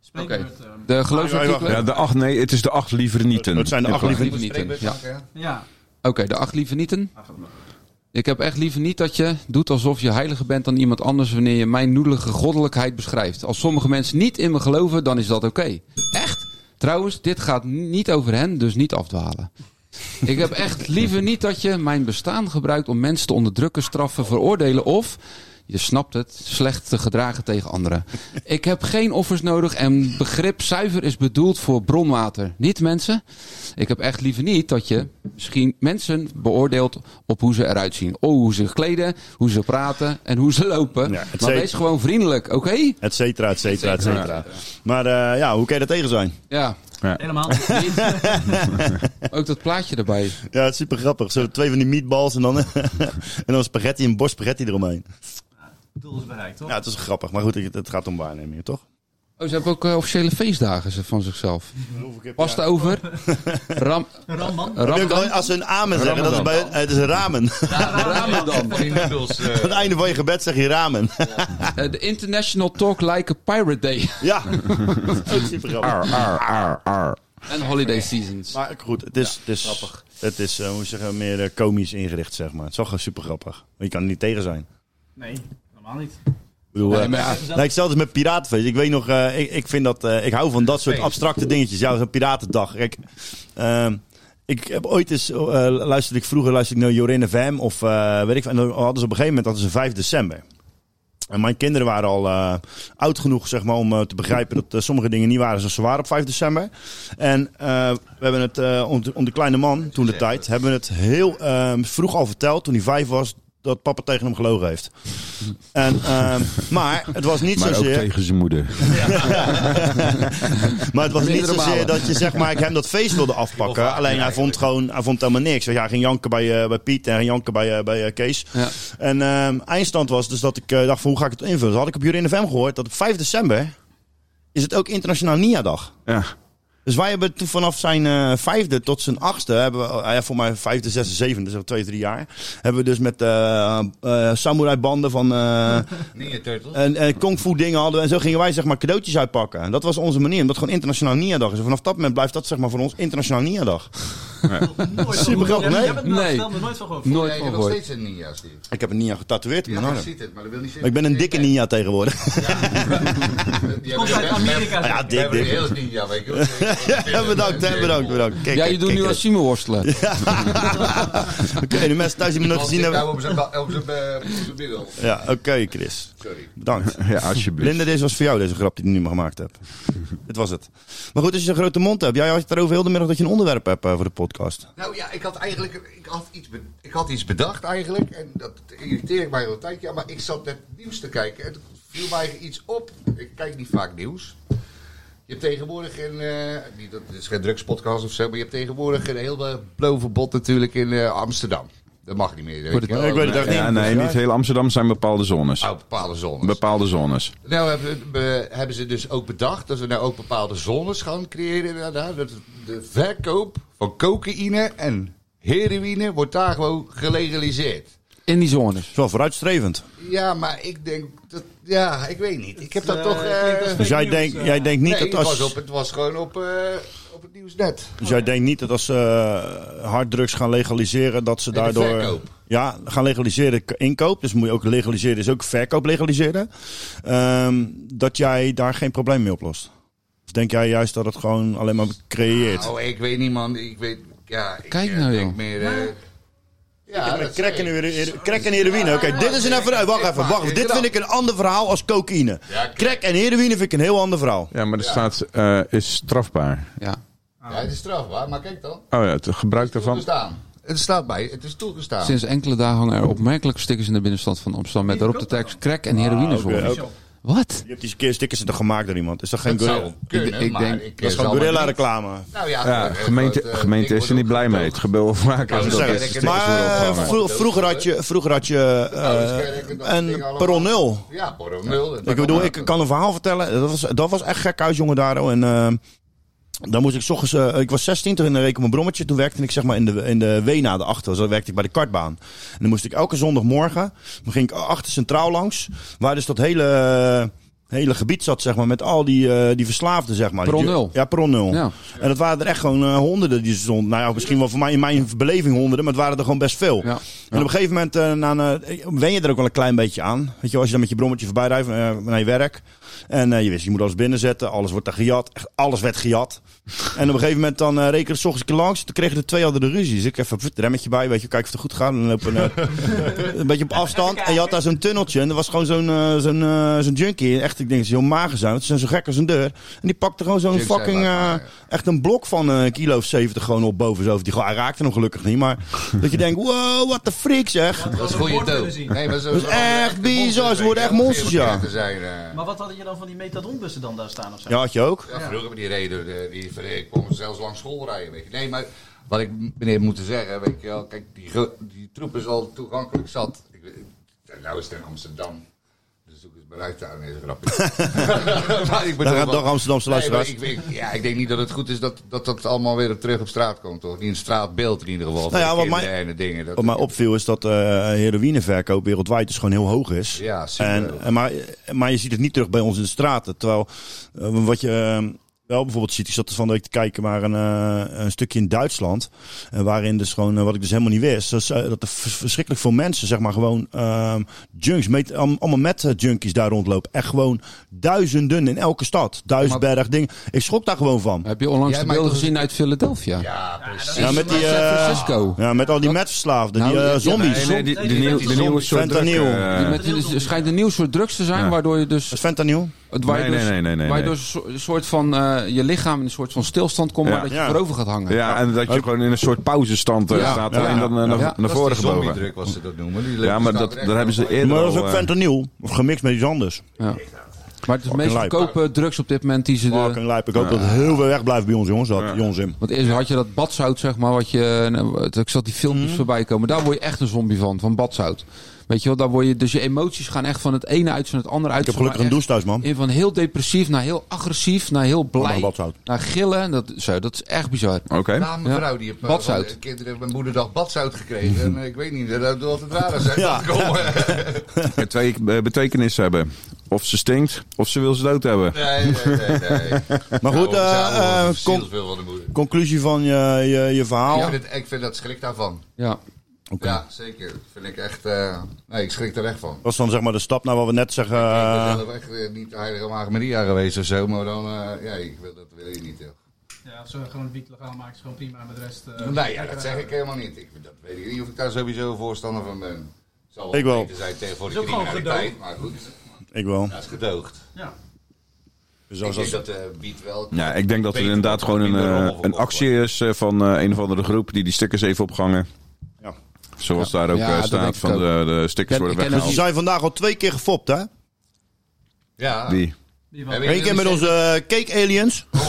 Speaker 2: spreekbeurt... eh,
Speaker 6: De
Speaker 1: Ja,
Speaker 6: geloofsartikelen?
Speaker 7: Ja, de acht, nee, het is de acht liever nieten.
Speaker 1: Het zijn de acht
Speaker 7: In plaats-
Speaker 1: liever-
Speaker 4: Moet je spreekbeurt
Speaker 6: Ja.
Speaker 4: maken, hè?
Speaker 2: ja,
Speaker 6: Oké, de acht lieve nieten. Ik heb echt liever niet dat je doet alsof je heiliger bent dan iemand anders wanneer je mijn noedelige goddelijkheid beschrijft. Als sommige mensen niet in me geloven, dan is dat oké. Echt? Trouwens, dit gaat n- niet over hen, dus niet afdwalen. Ik heb echt liever niet dat je mijn bestaan gebruikt om mensen te onderdrukken, straffen, veroordelen of, je snapt het, slecht te gedragen tegen anderen. Ik heb geen offers nodig en begrip zuiver is bedoeld voor bronwater, niet mensen. Ik heb echt liever niet dat je misschien mensen beoordeelt op hoe ze eruit zien. Oh, hoe ze zich kleden, hoe ze praten en hoe ze lopen.
Speaker 1: Ja, het
Speaker 6: maar
Speaker 1: zei-
Speaker 6: wees gewoon vriendelijk, oké?
Speaker 1: Et cetera, et cetera, et cetera. Maar eh, ja, hoe kan je daar tegen zijn?
Speaker 6: Ja,
Speaker 2: helemaal niet.
Speaker 6: ook dat plaatje erbij.
Speaker 1: Ja, het is super grappig. Zo twee van die meatballs en dan, [laughs] en dan spaghetti en borst spaghetti eromheen.
Speaker 2: Het doel is bereikt, toch?
Speaker 1: Ja, het is grappig. Maar goed, het het gaat om waarnemingen, toch?
Speaker 6: Oh, ze hebben ook eh, officiële feestdagen ze, van zichzelf. Pasta
Speaker 1: [laughs]
Speaker 6: over. Ram, Eh.
Speaker 2: Ramman.
Speaker 6: Ramadan.
Speaker 1: Als ze een amen zeggen, dat is bij, het is ramen.
Speaker 6: Ramadan.
Speaker 4: Inmiddels, eh,
Speaker 1: Aan het einde van je gebed zeg je ramen. [laughs]
Speaker 6: Eh, De International Talk Like a Pirate Day. [laughs]
Speaker 1: Ja, [laughs] ook super grappig.
Speaker 7: Ar, ar, ar, ar.
Speaker 6: En Holiday Seasons.
Speaker 1: Maar goed, het is, het is, het is eh, hoe zeg je, meer eh, komisch ingericht, zeg maar. Het is wel gewoon super grappig. Want je kan er niet tegen zijn.
Speaker 2: Nee, helemaal niet.
Speaker 1: Ik bedoel,
Speaker 6: Nee,
Speaker 1: eh,
Speaker 6: maar ja,
Speaker 1: nou, ik stel dus met Piratenfeest. Ik weet nog, eh, ik, ik vind dat, eh, ik hou van dat soort abstracte dingetjes. Ja, zo'n Piratendag. Kijk, ehm, ik heb ooit eens, eh, luisterde ik vroeger, luisterde ik naar Jorin FM of eh, weet ik veel. En dan hadden ze op een gegeven moment, hadden ze 5 december. En mijn kinderen waren al eh, oud genoeg zeg maar, om eh, te begrijpen dat eh, sommige dingen niet waren zoals ze waren op 5 december. En eh, we hebben ehm, het eh, om, de, om de kleine man toen de tijd, hebben we het heel eh, vroeg al verteld, toen hij vijf was, dat papa tegen hem gelogen heeft. En, ehm, maar het was niet
Speaker 7: Maar ook
Speaker 1: zozeer...
Speaker 7: tegen zijn moeder.
Speaker 1: Maar het was niet
Speaker 6: Meerdere
Speaker 1: zozeer
Speaker 6: malen.
Speaker 1: dat je zeg maar, ik hem dat feest wilde afpakken. Alleen hij vond gewoon, hij vond helemaal niks. Ja, hij ging janken bij, eh, bij Piet en hij ging janken bij, eh, bij eh, Kees.
Speaker 6: Ja.
Speaker 1: En ehm, eindstand was dus dat ik eh, dacht van hoe ga ik het invullen. Dat had ik op Jurin FM gehoord dat op 5 december is het ook internationaal NIA dag.
Speaker 7: Ja.
Speaker 1: Dus wij hebben toen vanaf zijn eh, vijfde tot zijn achtste, hebben we, eh, ja, voor mij vijfde, zesde, zevende, dus al twee, drie jaar, hebben we dus met eh, eh, samurai-banden van eh,
Speaker 4: Nee, Turtle.
Speaker 1: en, en kung fu dingen hadden. En zo gingen wij zeg maar cadeautjes uitpakken. En dat was onze manier. Omdat het gewoon internationaal NIA-dag is. En vanaf dat moment blijft dat zeg maar voor ons internationaal NIA-dag. Super grappig, nee?
Speaker 6: Nee.
Speaker 2: Nee. nooit van gehoord.
Speaker 1: Eh,
Speaker 6: Nooit
Speaker 4: Nee, ik heb
Speaker 6: van
Speaker 4: nog
Speaker 6: gehoord.
Speaker 4: steeds een Nia, zie ik.
Speaker 1: Ik heb een NIA getatoeëerd in
Speaker 4: Ja,
Speaker 1: mijn
Speaker 4: ik
Speaker 1: arm.
Speaker 4: zie het, maar dat wil niet
Speaker 1: Ik
Speaker 4: zeggen.
Speaker 1: ben een dikke NIA tegenwoordig. [laughs]
Speaker 2: Komt uit
Speaker 1: Ja,
Speaker 2: Amerika.
Speaker 4: We
Speaker 1: Ah, dik,
Speaker 4: hebben een
Speaker 1: dik.
Speaker 4: heel Nia, weet je wel.
Speaker 1: [laughs] Ja, bedankt, hè, bedankt, bedankt. Kijk,
Speaker 6: Ja, je
Speaker 1: kijk, kijk, eh.
Speaker 6: doet nu
Speaker 1: kijk.
Speaker 6: als Simon worstelen.
Speaker 1: Oké, de mensen thuis die me nog gezien hebben.
Speaker 4: Op zijn ba- op zijn, eh, op zijn middel.
Speaker 1: Ja, oké, Chris.
Speaker 4: Sorry.
Speaker 1: Bedankt.
Speaker 7: [laughs] Ja, alsjeblieft.
Speaker 1: Linda, deze was voor jou, deze grap die ik nu maar gemaakt
Speaker 7: [laughs]
Speaker 1: heb. Dit was het. Maar goed, als je zo'n grote mond hebt. Jij had het erover heel de middag dat je een onderwerp hebt eh, voor de podcast.
Speaker 4: Nou ja, ik had eigenlijk ik had iets, be- ik had iets bedacht eigenlijk. En dat irriteer ik mij al een tijdje aan. Maar ik zat net nieuws te kijken. En toen viel mij iets op. Ik kijk niet vaak nieuws. Je hebt tegenwoordig een... eh, niet, dat het is geen drugspodcast of zo. Maar je hebt tegenwoordig een heel eh, blauw verbod natuurlijk in eh, Amsterdam. Dat mag niet meer. weet
Speaker 6: Wordt
Speaker 4: je
Speaker 6: het-
Speaker 4: wel.
Speaker 1: Ik weet het echt niet.
Speaker 7: Ja, nee, niet heel Amsterdam zijn bepaalde zones.
Speaker 4: Op bepaalde zones.
Speaker 7: Bepaalde zones.
Speaker 4: Nou hebben, we- hebben ze dus ook bedacht dat we nou ook bepaalde zones gaan creëren. inderdaad. Dat de verkoop van cocaïne en heroïne wordt daar gewoon gelegaliseerd.
Speaker 6: In die zones.
Speaker 1: Het is wel vooruitstrevend.
Speaker 4: Ja, maar ik denk dat. Ja, ik weet niet. Ik heb dat
Speaker 2: Eh,
Speaker 4: toch. eh,
Speaker 2: klinkt als
Speaker 1: Dus jij
Speaker 2: Fake
Speaker 1: denkt
Speaker 2: news,
Speaker 1: jij
Speaker 2: eh.
Speaker 1: denkt niet
Speaker 4: nee,
Speaker 1: dat
Speaker 4: het, was
Speaker 1: als...
Speaker 4: op, het was gewoon op, eh, op het nieuwsnet.
Speaker 1: Dus jij denkt niet dat als ze eh, harddrugs gaan legaliseren, dat ze
Speaker 4: de
Speaker 1: daardoor. eh,
Speaker 4: verkoop.
Speaker 1: Ja, gaan legaliseren k- inkoop. Dus moet je ook legaliseren, is ook verkoop legaliseren. Ehm, dat jij daar geen probleem mee oplost. Of denk jij juist dat het gewoon alleen maar creëert?
Speaker 4: Oh, ik weet niet, man. Ik weet. Ja, ik,
Speaker 6: Kijk
Speaker 4: eh,
Speaker 6: nou,
Speaker 4: denk
Speaker 6: joh.
Speaker 4: meer. eh, ja,
Speaker 1: Met
Speaker 4: dat-
Speaker 1: crack en heroï- heroï- crack en heroïne. Oké, dit is een even. Wacht even, wacht even. Dit vind ik een ander verhaal als cocaïne.
Speaker 4: Ja, crack.
Speaker 1: Crack en heroïne vind ik een heel ander verhaal.
Speaker 7: Ja, maar er staat, eh, is strafbaar.
Speaker 6: Ja.
Speaker 4: Ja, het is strafbaar, maar kijk dan.
Speaker 7: Oh ja, het gebruik daarvan.
Speaker 4: Toegestaan. Het staat bij, het is toegestaan.
Speaker 6: Sinds enkele dagen hangen er opmerkelijke stickers in de binnenstad van Amsterdam. Met daarop de tekst crack en heroïnezone.
Speaker 1: Ah, oké,
Speaker 6: Wat?
Speaker 1: Je hebt die keer stickers er gemaakt door iemand. Is dat geen
Speaker 4: Dat
Speaker 1: gorilla?
Speaker 4: zou kunnen,
Speaker 6: ik
Speaker 4: maar
Speaker 6: denk-
Speaker 4: ik,
Speaker 1: Dat is gewoon
Speaker 4: eh, zal
Speaker 1: gorilla
Speaker 4: maar niet-
Speaker 1: reclame.
Speaker 4: Nou ja,
Speaker 7: Ja,
Speaker 4: eh,
Speaker 7: gemeente,
Speaker 4: dat, eh,
Speaker 7: gemeente
Speaker 4: ding
Speaker 7: is er niet
Speaker 4: wordt
Speaker 7: blij mee. Het
Speaker 4: opgetogen.
Speaker 7: gebeurt wel vaker
Speaker 4: Ja,
Speaker 7: dat
Speaker 4: dat
Speaker 7: er
Speaker 4: is erg.
Speaker 7: stickers worden
Speaker 1: Maar
Speaker 7: opgehangen.
Speaker 1: eh, vro- vroeger had je, vroeger had je eh, een perron nul.
Speaker 4: Ja, Borrel nul.
Speaker 1: Ik bedoel, ik kan een verhaal vertellen. Dat was, dat was echt gek huis, jongen, daar. oh. En eh, dan moest ik 's ochtends... eh, ik was 16, toen reed ik op mijn brommetje. Toen werkte ik zeg maar in de, in de Wena, de achter. Dus dan werkte ik bij de kartbaan. En dan moest ik elke zondagmorgen... Dan ging ik achter Centraal langs. Waar dus dat hele... eh, hele gebied zat, zeg maar, met al die, eh, die verslaafden, zeg maar.
Speaker 6: Perron
Speaker 1: Die-
Speaker 6: nul.
Speaker 1: Ja, per nul.
Speaker 6: Ja.
Speaker 1: En dat waren er echt gewoon eh, honderden die stonden. Nou ja, misschien wel voor mij in mijn beleving honderden, maar het waren er gewoon best veel.
Speaker 6: Ja.
Speaker 1: En op een gegeven moment eh, na een, eh, wen je er ook wel een klein beetje aan. Weet je, wel, als je dan met je brommetje voorbij rijdt eh, naar je werk. En eh, je wist, je moet alles binnenzetten. Alles wordt daar gejat. Echt, alles werd
Speaker 6: [laughs]
Speaker 1: gejat. en op een gegeven moment dan eh reken ik ochtends een keer langs. Toen kregen de twee hadden de ruzie. Dus ik even het remmetje bij, weet je, kijken of het goed gaat. En dan lopen
Speaker 6: [laughs]
Speaker 1: we, eh, een beetje op afstand. En je had daar zo'n tunneltje. En er was gewoon zo'n eh, zo'n eh, zo'n junkie. Echt, ik denk dat ze heel mager zijn. Want ze zijn zo gek als een deur. En die pakte gewoon zo'n
Speaker 4: Junkies zijn
Speaker 1: fucking...
Speaker 4: laag,
Speaker 1: eh,
Speaker 4: maar, ja.
Speaker 1: echt een blok van eh, een kilo of 70 gewoon op boven zijn hoofd. Die, gewoon- hij raakte hem gelukkig niet,
Speaker 4: [laughs]
Speaker 1: maar dat je denkt, wow, what the freak zeg.
Speaker 4: Dat is
Speaker 2: Hadden we
Speaker 4: goede
Speaker 2: bord kunnen
Speaker 4: dood.
Speaker 2: zien.
Speaker 4: Nee, maar zo-
Speaker 1: Dat is
Speaker 4: zo-
Speaker 1: echt
Speaker 4: de
Speaker 1: bizar,
Speaker 4: monsters,
Speaker 1: ze worden
Speaker 4: weet je,
Speaker 1: echt
Speaker 4: om
Speaker 1: monsters, ja.
Speaker 4: veerbekeerd te zijn, eh.
Speaker 2: Maar wat hadden je dan van die metadonbussen dan daar staan of zo?
Speaker 1: Ja, had je ook?
Speaker 4: Ja, vroeger met die reden, eh, die ver- kwamen zelfs langs school rijden. Weet je. Nee, maar wat ik meneer moet zeggen, weet je wel, kijk, die, gro- die troep is al toegankelijk zat. Ik, weet- nou is het in Amsterdam. Dus ook eens bereid aan deze
Speaker 1: [laughs]
Speaker 4: grapje. maar ik bedoel,
Speaker 1: Daar gaat
Speaker 4: wel-
Speaker 1: toch Amsterdamse
Speaker 4: Nee, maar
Speaker 1: luisteraars.
Speaker 4: ik, ik- ja, ik denk niet dat het goed is dat dat, dat allemaal weer op terug op straat komt, toch? Niet een straatbeeld in ieder geval.
Speaker 1: Nou ja,
Speaker 4: voor de
Speaker 1: wat mij-
Speaker 4: kinderen en de dingen. Dat,
Speaker 1: Wat mij opviel is dat eh heroïneverkoop wereldwijd dus gewoon heel hoog is.
Speaker 4: Ja, super.
Speaker 1: en, eh, en maar, maar je ziet het niet terug bij ons in de straten. Terwijl eh, wat je eh, wel bijvoorbeeld ziet, ik zat er van de week te kijken naar een, eh, een stukje in Duitsland. eh, waarin dus gewoon, eh, wat ik dus helemaal niet wist, dat, ze- dat er v- verschrikkelijk veel mensen, zeg maar gewoon ehm, junks, met, am- allemaal met eh, junkies daar rondlopen. Echt gewoon duizenden in elke stad. Duisberg, dingen. Ik schrok daar gewoon van.
Speaker 6: Heb je onlangs
Speaker 4: Jij
Speaker 6: de
Speaker 4: maakt
Speaker 6: beelden
Speaker 4: ons-
Speaker 6: gezien uit Philadelphia?
Speaker 4: ja, precies.
Speaker 1: Ja, met die,
Speaker 6: San
Speaker 1: eh,
Speaker 6: Francisco.
Speaker 1: ja, met al die metverslaafden, die
Speaker 6: Nou,
Speaker 1: eh,
Speaker 6: ja,
Speaker 1: zombies.
Speaker 7: Nee, nee, die, die, nieuw- die nieuwe soort druk,
Speaker 1: Fentanyl.
Speaker 7: eh,
Speaker 6: Die met- Het schijnt een nieuw soort drugs te zijn,
Speaker 7: Ja.
Speaker 6: waardoor je
Speaker 1: Dat
Speaker 6: dus...
Speaker 1: is fentanyl.
Speaker 6: Het Waar je
Speaker 7: Nee,
Speaker 6: dus-
Speaker 7: nee, nee, nee, nee,
Speaker 6: waar je
Speaker 7: nee.
Speaker 6: dus een soort van eh, je lichaam in een soort van stilstand komt,
Speaker 7: Ja.
Speaker 6: maar dat je
Speaker 1: Ja.
Speaker 6: voorover gaat hangen.
Speaker 7: Ja, en dat je gewoon in een soort pauzestand eh,
Speaker 6: Ja.
Speaker 7: staat.
Speaker 6: Ja.
Speaker 7: Alleen dan eh, naar,
Speaker 6: Ja.
Speaker 7: naar
Speaker 4: dat
Speaker 7: voren
Speaker 4: is die
Speaker 7: gebogen.
Speaker 4: zombiedruk, wat ze dat nou noemen. Die
Speaker 7: Ja, maar
Speaker 4: staat
Speaker 7: dat,
Speaker 4: er echt
Speaker 7: daar hebben ze
Speaker 4: wel bij.
Speaker 7: eerder
Speaker 1: Maar dat is
Speaker 7: al,
Speaker 1: ook
Speaker 7: eh,
Speaker 1: fentanyl. Of gemixt met iets anders.
Speaker 6: Ja. Maar het is de meest
Speaker 1: lijp.
Speaker 6: goedkope drugs op dit moment die ze... De,
Speaker 1: Fucking lijp. Ik hoop dat het heel veel weg blijft bij ons, jongens. Dat, jongens in.
Speaker 6: want eerst had je dat badzout, zeg maar, wat je... nou, Ik zat die filmpjes
Speaker 1: Mhm.
Speaker 6: voorbij komen. Daar word je echt een zombie van, van badzout. Weet je wel, daar word je... Dus je emoties gaan echt van het ene uit naar het andere uit.
Speaker 1: Ik heb gelukkig een
Speaker 6: maar echt
Speaker 1: douche thuis, man.
Speaker 6: in van heel depressief naar heel agressief, naar heel
Speaker 1: Allemaal
Speaker 6: blij,
Speaker 1: badzout.
Speaker 6: naar gillen. Dat, zo, dat is echt bizar.
Speaker 7: Oké.
Speaker 4: Nou, mijn
Speaker 6: Ja.
Speaker 4: vrouw die heeft eh,
Speaker 6: Badzout.
Speaker 4: van de kinderen mijn moederdag badzout gekregen. en eh, ik weet niet, dat doet altijd raar zijn.
Speaker 1: Mhm. Ja.
Speaker 4: Ja.
Speaker 7: En Twee eh, betekenissen hebben. Of ze stinkt, of ze wil ze dood hebben.
Speaker 4: [laughs] Nee, nee, nee. nee. Nou,
Speaker 1: Maar [laughs] goed, eh, eh, con-
Speaker 4: veel van de moeder.
Speaker 1: conclusie van je, je, je verhaal.
Speaker 4: Ik, vind het, ik vind dat schrik daarvan.
Speaker 6: Ja.
Speaker 1: Oké.
Speaker 4: Ja, zeker. Dat vind ik echt... eh, nee, ik schrik er echt van.
Speaker 1: Dat is dan zeg maar de stap naar wat we net zeggen.
Speaker 4: ik ben
Speaker 1: eh,
Speaker 4: zelf echt eh, niet Heilige Maagd Maria geweest of zo, maar dan... eh, ja, ik wil, dat wil je niet, joh.
Speaker 2: Ja, als ze gewoon een wiet legaal maken, is gewoon prima. En met de rest... eh,
Speaker 4: Nee, ja, dat zeg ik helemaal niet. Ik, dat weet ik niet of ik daar sowieso voorstander van ben. Zal
Speaker 1: Ik wel.
Speaker 4: beter zijn tegen voor de
Speaker 2: Is ook gewoon
Speaker 4: criminaliteit, maar goed.
Speaker 1: ik wel.
Speaker 4: Dat is gedoogd.
Speaker 2: Ja.
Speaker 1: Dus
Speaker 4: Ik
Speaker 1: als,
Speaker 4: denk
Speaker 1: als,
Speaker 4: dat eh biedt wel...
Speaker 7: Ja, ik denk dat het
Speaker 4: beter
Speaker 7: inderdaad
Speaker 4: wordt,
Speaker 7: gewoon een,
Speaker 4: minder
Speaker 7: eh,
Speaker 4: rommel
Speaker 7: een
Speaker 4: verkocht
Speaker 7: actie is eh, van eh, een of andere groep die die stickers even opgangen.
Speaker 1: Ja.
Speaker 7: Zoals daar ook
Speaker 6: Ja,
Speaker 7: eh,
Speaker 6: dat denk
Speaker 7: staat
Speaker 6: ik
Speaker 7: van
Speaker 6: ook.
Speaker 7: de, de stickers
Speaker 6: Ja,
Speaker 7: worden
Speaker 6: ik ken
Speaker 1: die
Speaker 7: weggehaald.
Speaker 1: Dus zijn vandaag al twee keer gefopt, hè?
Speaker 4: Ja.
Speaker 7: Die.
Speaker 2: Die
Speaker 4: Heb
Speaker 2: wel.
Speaker 4: ik
Speaker 1: Eén keer met
Speaker 4: jullie
Speaker 1: onze eh, cake aliens.
Speaker 4: Maar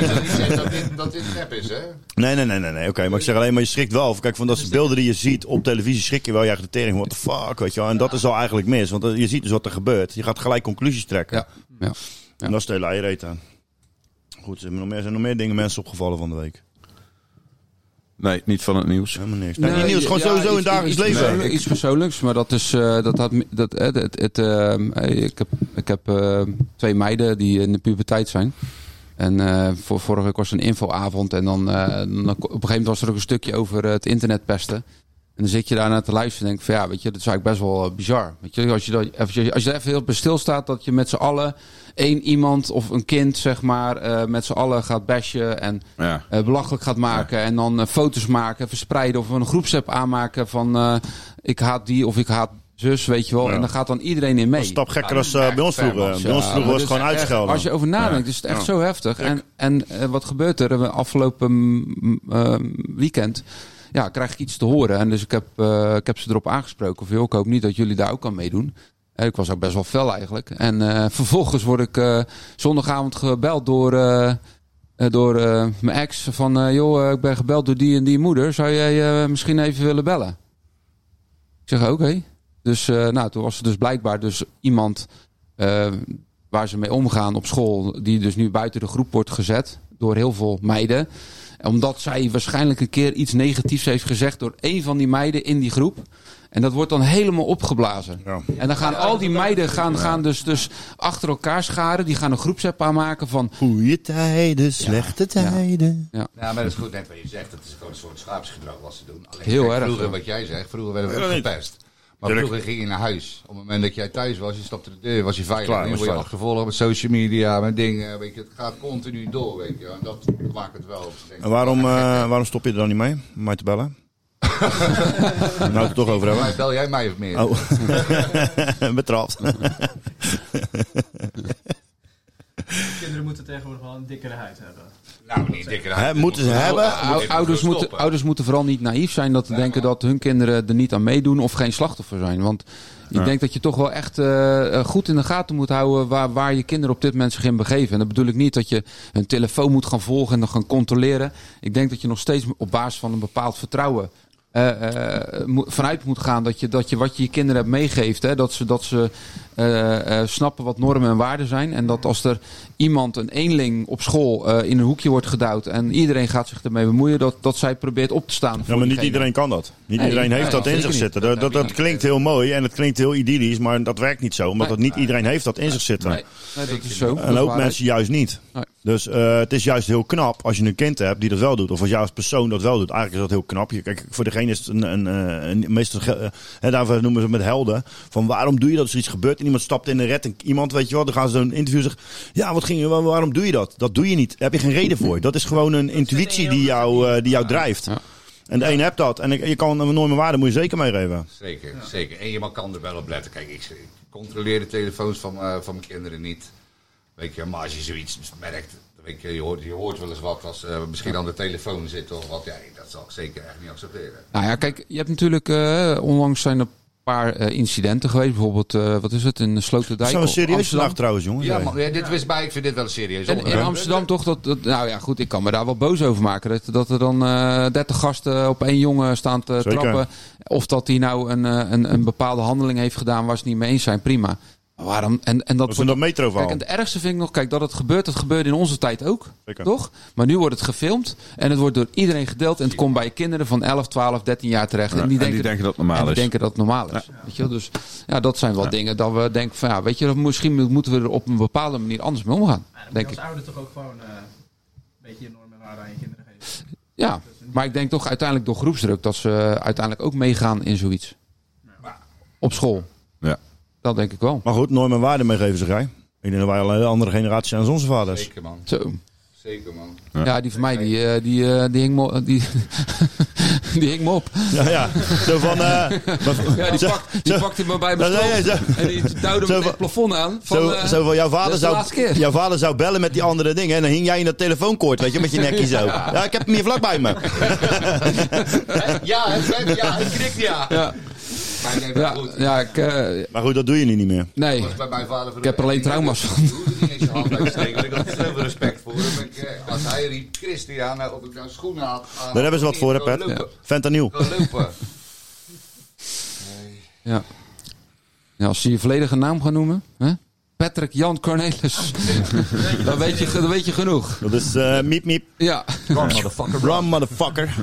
Speaker 4: je wil niet zeggen dat dit, dat dit nep is, hè?
Speaker 1: Nee, nee, nee, nee. nee. Oké, maar ik zeg alleen maar je schrikt wel. Of Kijk, van dat soort beelden die je ziet op televisie schrik je wel. Je eigen de tering, what the fuck, weet je wel. En dat is al eigenlijk mis. Want eh, je ziet dus wat er gebeurt. Je gaat gelijk conclusies trekken.
Speaker 6: Ja. ja.
Speaker 1: En dat is de hele eierreet aan. Goed, er zijn nog meer, zijn nog meer dingen mensen opgevallen van de week.
Speaker 7: Nee, niet van het nieuws.
Speaker 1: Helemaal niks. Nee, niet
Speaker 6: Nee,
Speaker 1: nieuws, gewoon
Speaker 6: ja,
Speaker 1: sowieso in
Speaker 6: iets-
Speaker 1: het dagelijks
Speaker 6: iets-
Speaker 1: leven.
Speaker 6: iets- Iets persoonlijks, maar dat is. eh, dat had, me- dat, eh, het, het, ehm, eh, ik heb, ik heb eh, twee meiden die in de puberteit zijn. En eh, voor, vorige week was er een infoavond. En dan, eh, dan- op een gegeven moment was er ook een stukje over eh, het internet pesten. En dan zit je daarna te luisteren en denk ik van ja, weet je, dat is eigenlijk best wel eh, bizar. Weet je, als je, dat, even, als je er even heel bij stilstaat, dat je met z'n allen één iemand of een kind, zeg maar, eh, met z'n allen gaat bashen. En
Speaker 7: Ja.
Speaker 6: eh, belachelijk gaat maken. En dan eh, foto's maken, verspreiden. Of een groepsapp aanmaken van eh, ik haat die of ik haat zus, weet je wel.
Speaker 1: Ja.
Speaker 6: En dan gaat dan iedereen in mee.
Speaker 1: Een stap gekker als eh, bij ons vroeger.
Speaker 6: Ja,
Speaker 1: bij ons
Speaker 6: maar
Speaker 1: vroeger was
Speaker 6: dit
Speaker 1: het
Speaker 6: is
Speaker 1: gewoon
Speaker 6: echt-
Speaker 1: uitschelden.
Speaker 6: Als je over nadenkt, is het echt zo heftig. En, en eh, wat gebeurt er? We- Afgelopen mm, eh, weekend ja, krijg ik iets te horen. En dus ik heb, eh, ik heb ze erop aangesproken. Of joh, ik hoop niet dat jullie daar ook aan meedoen. Eh, Ik was ook best wel fel eigenlijk. En eh, vervolgens word ik eh, zondagavond gebeld door, eh, eh, door eh, mijn ex. Van eh, joh, eh, ik ben gebeld door die en die moeder. Zou jij eh, misschien even willen bellen? Ik zeg oké. Dus eh, nou, toen was er dus blijkbaar dus iemand eh, waar ze mee omgaan op school, die dus nu buiten de groep wordt gezet door heel veel meiden. Omdat zij waarschijnlijk een keer iets negatiefs heeft gezegd door één van die meiden in die groep. En dat wordt dan helemaal opgeblazen.
Speaker 1: Ja.
Speaker 6: En dan gaan al die meiden gaan, gaan dus, dus achter elkaar scharen. Die gaan een groepsapp aanmaken van...
Speaker 1: Goeie tijden, slechte tijden.
Speaker 4: Ja, maar dat is goed net wat je zegt. Het is gewoon een soort schaapsgedrag wat ze doen. Alleen,
Speaker 6: Heel
Speaker 4: kijk,
Speaker 6: erg,
Speaker 4: Vroeger,
Speaker 6: ja.
Speaker 4: wat jij zegt, vroeger werden we
Speaker 1: Ja,
Speaker 4: ook
Speaker 1: niet.
Speaker 4: gepest. Maar
Speaker 1: Tuurlijk.
Speaker 4: vroeger ging je naar huis. Op het moment dat jij thuis was, je stapte de deur, was je veilig.
Speaker 1: Klaar,
Speaker 4: nu
Speaker 1: was
Speaker 4: word je
Speaker 1: veilig.
Speaker 4: achtervolgd met social media, met dingen. Weet je, het gaat continu door, weet je. wel. En dat maakt het wel.
Speaker 1: En waarom, eh, waarom stop je er dan niet mee? Om mij te
Speaker 6: [laughs]
Speaker 1: bellen? nou, we het toch over hebben.
Speaker 4: Maar bel jij mij of meer?
Speaker 1: Oh, [laughs]
Speaker 6: Oh.
Speaker 1: betrapt.
Speaker 2: Kinderen moeten tegenwoordig wel een dikkere huid hebben.
Speaker 4: Nou, niet dikker.
Speaker 1: Hè, moeten ze hebben?
Speaker 6: Ou- ouders, moeten, ouders moeten vooral niet naïef zijn dat te denken dat hun kinderen er niet aan meedoen of geen slachtoffer zijn. Want ik denk dat je toch wel echt eh, eh, goed in de gaten moet houden waar, waar je kinderen op dit moment zich in begeven. En dat bedoel ik niet dat je hun telefoon moet gaan volgen en dan gaan controleren. Ik denk dat je nog steeds op basis van een bepaald vertrouwen eh, eh, mo- vanuit moet gaan dat je, dat je wat je je kinderen hebt meegeeft, hè, dat ze, dat ze eh, eh, snappen wat normen en waarden zijn. En dat als er iemand, een eenling op school, eh, in een hoekje wordt geduwd en iedereen gaat zich ermee bemoeien, dat, dat zij probeert op te staan.
Speaker 1: Ja,
Speaker 6: voor
Speaker 1: maar niet
Speaker 6: diegene.
Speaker 1: iedereen kan dat. Niet
Speaker 6: Nee,
Speaker 1: iedereen
Speaker 6: nee,
Speaker 1: heeft dat in
Speaker 6: zeker
Speaker 1: zich
Speaker 6: niet.
Speaker 1: zitten. Dat, dat, dat klinkt heel mooi en het klinkt heel idyllisch, maar dat werkt niet zo. Omdat
Speaker 6: Nee.
Speaker 1: dat niet iedereen heeft dat in zich
Speaker 6: Nee,
Speaker 1: zitten.
Speaker 6: nee, dat is zo. Dat is
Speaker 1: En ook
Speaker 6: waarheid.
Speaker 1: mensen juist niet.
Speaker 6: Nee.
Speaker 1: Dus eh, het is juist heel knap als je een kind hebt die dat wel doet. Of als jij als persoon dat wel doet. Eigenlijk is dat heel knap. Je- Kijk, voor degene is het een, een, eh, een meestal, ge- eh, hè, daarvoor noemen ze het met helden. Van waarom doe je dat als er iets gebeurt en iemand stapt in de red en iemand, weet je wel, dan gaan ze een interview zeggen. Ja, wat ging, je- waar- waarom doe je dat? Dat doe je niet. Daar heb je geen reden voor. Dat is gewoon een intuïtie die jou, eh, die jou drijft. En de een hebt dat. En ik- je kan een enorme waarde, moet je zeker meegeven.
Speaker 4: Zeker, zeker. En je man kan er wel op letten. Kijk, ik, ik controleer de telefoons van, eh, van mijn kinderen niet. Weet je, maar als je zoiets merkt, dan weet je, je, hoort, je hoort wel eens wat als eh, misschien aan de telefoon zit of wat. Ja, dat zal ik zeker echt niet accepteren.
Speaker 6: Nou ja, kijk, je hebt natuurlijk eh, onlangs zijn er een paar eh, incidenten geweest. Bijvoorbeeld, eh, wat is het, in Sloterdijk?
Speaker 1: Zo'n
Speaker 6: of
Speaker 1: serieus
Speaker 6: Amsterdam.
Speaker 1: vandaag trouwens, jongens.
Speaker 4: Ja,
Speaker 1: Hey.
Speaker 4: maar, ja, dit wist bij, ik vind dit wel een serieus
Speaker 6: En in
Speaker 4: onderwerp.
Speaker 6: Amsterdam toch, dat, dat- nou ja goed, ik kan me daar wel boos over maken. Dat, dat er dan eh 30 gasten op één jongen staan te
Speaker 1: Zeker.
Speaker 6: trappen. Of dat hij nou een, eh, een, een bepaalde handeling heeft gedaan waar ze het niet mee eens zijn, prima. Maar waarom? En, en dat
Speaker 1: Dat is in
Speaker 6: wordt-
Speaker 1: dat metro
Speaker 6: Kijk, en het ergste vind ik nog, kijk, dat het gebeurt, dat gebeurde in onze tijd ook.
Speaker 1: Zeker.
Speaker 6: Toch? Maar nu wordt het gefilmd en het wordt door iedereen gedeeld. En het komt bij kinderen van 11, 12, 13 jaar terecht.
Speaker 7: Ja,
Speaker 6: en die,
Speaker 7: en
Speaker 6: denken,
Speaker 7: die denken dat het normaal
Speaker 6: en die
Speaker 7: is.
Speaker 6: denken dat het normaal is. Weet je wel? Dus ja, dat zijn wel dingen dat we denken van ja, weet je, misschien moeten we er op een bepaalde manier anders mee omgaan.
Speaker 2: Maar dan moet je
Speaker 6: Denk
Speaker 2: als
Speaker 6: ik.
Speaker 2: ouder toch ook gewoon eh, een beetje je normen en waarden aan je kinderen geven.
Speaker 6: Ja, maar ik denk toch uiteindelijk door groepsdruk dat ze eh, uiteindelijk ook meegaan in zoiets. Op school.
Speaker 7: Ja.
Speaker 6: Dat denk ik wel.
Speaker 1: Maar goed, normen en waarden meegeven, zeg jij. Ik denk dat wij al een hele andere generatie zijn als onze vaders.
Speaker 4: Zeker man,
Speaker 6: Zo.
Speaker 4: zeker man.
Speaker 6: Ja, die van mij, die, eh, die, eh, die hing me die, [laughs] die hing me op.
Speaker 1: Ja, ja. Zo van... eh, maar-
Speaker 6: Ja, die,
Speaker 1: zo-
Speaker 6: pakt, die
Speaker 1: zo-
Speaker 6: pakte me bij
Speaker 1: Dat
Speaker 6: mijn
Speaker 1: zei
Speaker 6: strot.
Speaker 1: jij, zo-
Speaker 6: En die duwde me
Speaker 1: Zo
Speaker 6: tegen
Speaker 1: van-
Speaker 6: het plafond aan. Van,
Speaker 1: Zo,
Speaker 6: eh,
Speaker 1: zo van, jouw
Speaker 6: dat
Speaker 1: vader,
Speaker 6: is de
Speaker 1: zou,
Speaker 6: laatste keer.
Speaker 1: jouw vader zou bellen met die andere dingen. En dan hing jij in dat telefoonkoord, weet je, met je nekje zo.
Speaker 6: Ja.
Speaker 1: Ja, ik heb hem hier vlak bij me.
Speaker 4: Ja, het, ja, hij knikt ja.
Speaker 6: Ja,
Speaker 4: Maar nee, maar
Speaker 6: ja,
Speaker 4: goed.
Speaker 6: ja ik, eh,
Speaker 1: Maar goed, dat doe je nu niet meer.
Speaker 6: nee.
Speaker 4: was bij mijn vader voor
Speaker 6: Ik heb er alleen trauma's van.
Speaker 4: Ik hoefde niet eens je hand uitsteken, want ik had er zoveel respect voor. hem. Ik, eh, Als hij riep, Christian, nou, of ik nou schoenen had. aan,
Speaker 1: Daar hebben ze wat
Speaker 4: of
Speaker 1: voor, hè,
Speaker 4: niet,
Speaker 1: Pet?
Speaker 4: gewoon lopen.
Speaker 1: Fentanyl.
Speaker 4: Gewoon lopen.
Speaker 6: Ja. Ja, als ze je volledige naam gaan noemen. Hè? Patrick
Speaker 1: [laughs]
Speaker 6: Jan Cornelis. dan, weet je, dan weet je genoeg.
Speaker 1: Dat is eh miep miep.
Speaker 6: Ja.
Speaker 1: Run, motherfucker.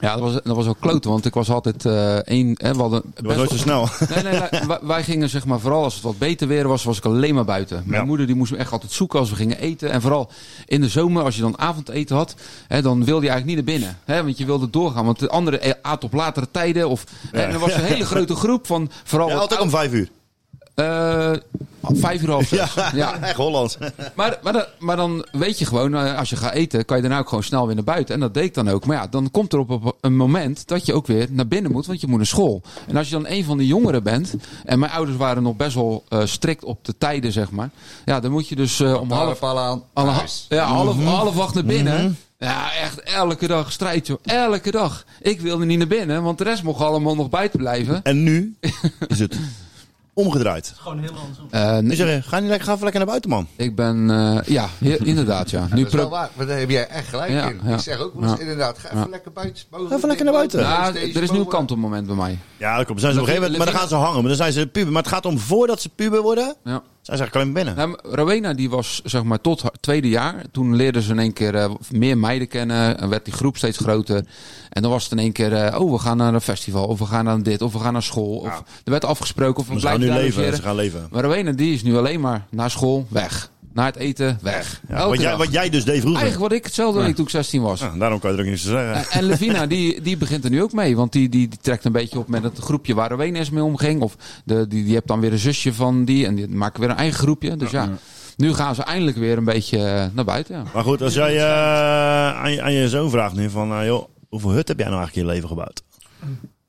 Speaker 6: Ja, dat was, dat was ook kloten, want ik was altijd eh één. Hè, we hadden
Speaker 1: Dat was nooit zo snel.
Speaker 6: Nee, nee, wij- wij, wij gingen zeg maar, vooral als het wat beter weer was, was ik alleen maar buiten. Mijn
Speaker 1: Ja.
Speaker 6: moeder die moest me echt altijd zoeken als we gingen eten. En vooral in de zomer, als je dan avondeten had, hè, dan wilde je eigenlijk niet naar binnen. Hè, want je wilde doorgaan, want de anderen e- aten op latere tijden. Of, En er was een
Speaker 1: [laughs]
Speaker 6: hele grote groep van vooral...
Speaker 1: Ja, altijd om vijf uur.
Speaker 6: eh, vijf uur half zes. Ja.
Speaker 1: Echt Hollands.
Speaker 6: Maar, maar, dan- maar dan weet je gewoon, eh, als je gaat eten, kan je daarna ook gewoon snel weer naar buiten. En dat deed ik dan ook. Maar ja, dan komt er op- op een moment dat je ook weer naar binnen moet, want je moet naar school. En als je dan een van de jongeren bent, en mijn ouders waren nog best wel eh, strikt op de tijden, zeg maar. Ja, dan moet je dus eh, om half,
Speaker 4: Alle aan.
Speaker 6: alle-
Speaker 4: Huis.
Speaker 6: ja, half,
Speaker 4: Mhm.
Speaker 6: half acht naar binnen. Ja, echt elke dag strijd, joh. Elke dag. Ik wilde niet naar binnen, want de rest mocht allemaal nog buiten blijven.
Speaker 1: En nu is het omgedraaid.
Speaker 2: Het is gewoon heel andersom.
Speaker 6: Eh,
Speaker 1: Ik
Speaker 4: Dus-
Speaker 6: nee,
Speaker 1: zeg, ga, niet lekker, ga even lekker naar buiten, man.
Speaker 6: ik ben, eh, ja, he- inderdaad, ja. Nu
Speaker 4: Dat is wel
Speaker 6: pro-
Speaker 4: waar, maar daar heb jij echt gelijk
Speaker 6: Ja,
Speaker 4: in.
Speaker 6: ja.
Speaker 4: Ik zeg ook wel eens,
Speaker 6: Ja.
Speaker 4: inderdaad, ga even lekker buiten.
Speaker 1: Ga even lekker naar buiten.
Speaker 6: Ja, er is nu een kantelmoment bij mij.
Speaker 1: Ja, dat komt. Zijn ze op een gegeven moment, maar dan gaan ze hangen. Maar dan zijn ze puber. Maar het gaat om voordat ze puber worden,
Speaker 6: Ja.
Speaker 1: zijn ze eigenlijk alleen maar binnen.
Speaker 6: Nou, maar Rowena die was zeg maar tot haar tweede jaar. Toen leerden ze in één keer eh, meer meiden kennen. En werd die groep steeds groter. En dan was het in één keer, eh, oh we gaan naar een festival. Of we gaan naar dit. Of we gaan naar school. Of er werd afgesproken. Of
Speaker 1: Maar
Speaker 6: we
Speaker 1: Dus Ze gaan
Speaker 6: blijven
Speaker 1: nu
Speaker 6: daar
Speaker 1: leven.
Speaker 6: logeren.
Speaker 1: Ze gaan leven.
Speaker 6: Maar Rowena die is nu alleen maar naar school, weg. Naar het eten, weg.
Speaker 1: Ja,
Speaker 6: Elke
Speaker 1: wat, jij,
Speaker 6: dag.
Speaker 1: wat jij dus deed vroeger.
Speaker 6: Eigenlijk wat ik hetzelfde deed toen ik 16 was.
Speaker 1: Ja, daarom kan je er ook niks te zeggen.
Speaker 6: En Levina, die, die begint er nu ook mee. Want die, die, die trekt een beetje op met het groepje waar Rowena eens mee omging. Of de, die, die hebt dan weer een zusje van die. En die maken weer een eigen groepje. Dus ja, nu gaan ze eindelijk weer een beetje eh, naar buiten. Ja.
Speaker 1: Maar goed, als jij eh, aan, je, aan je zoon vraagt nu van, eh, joh, hoeveel hut heb jij nou eigenlijk in je leven gebouwd?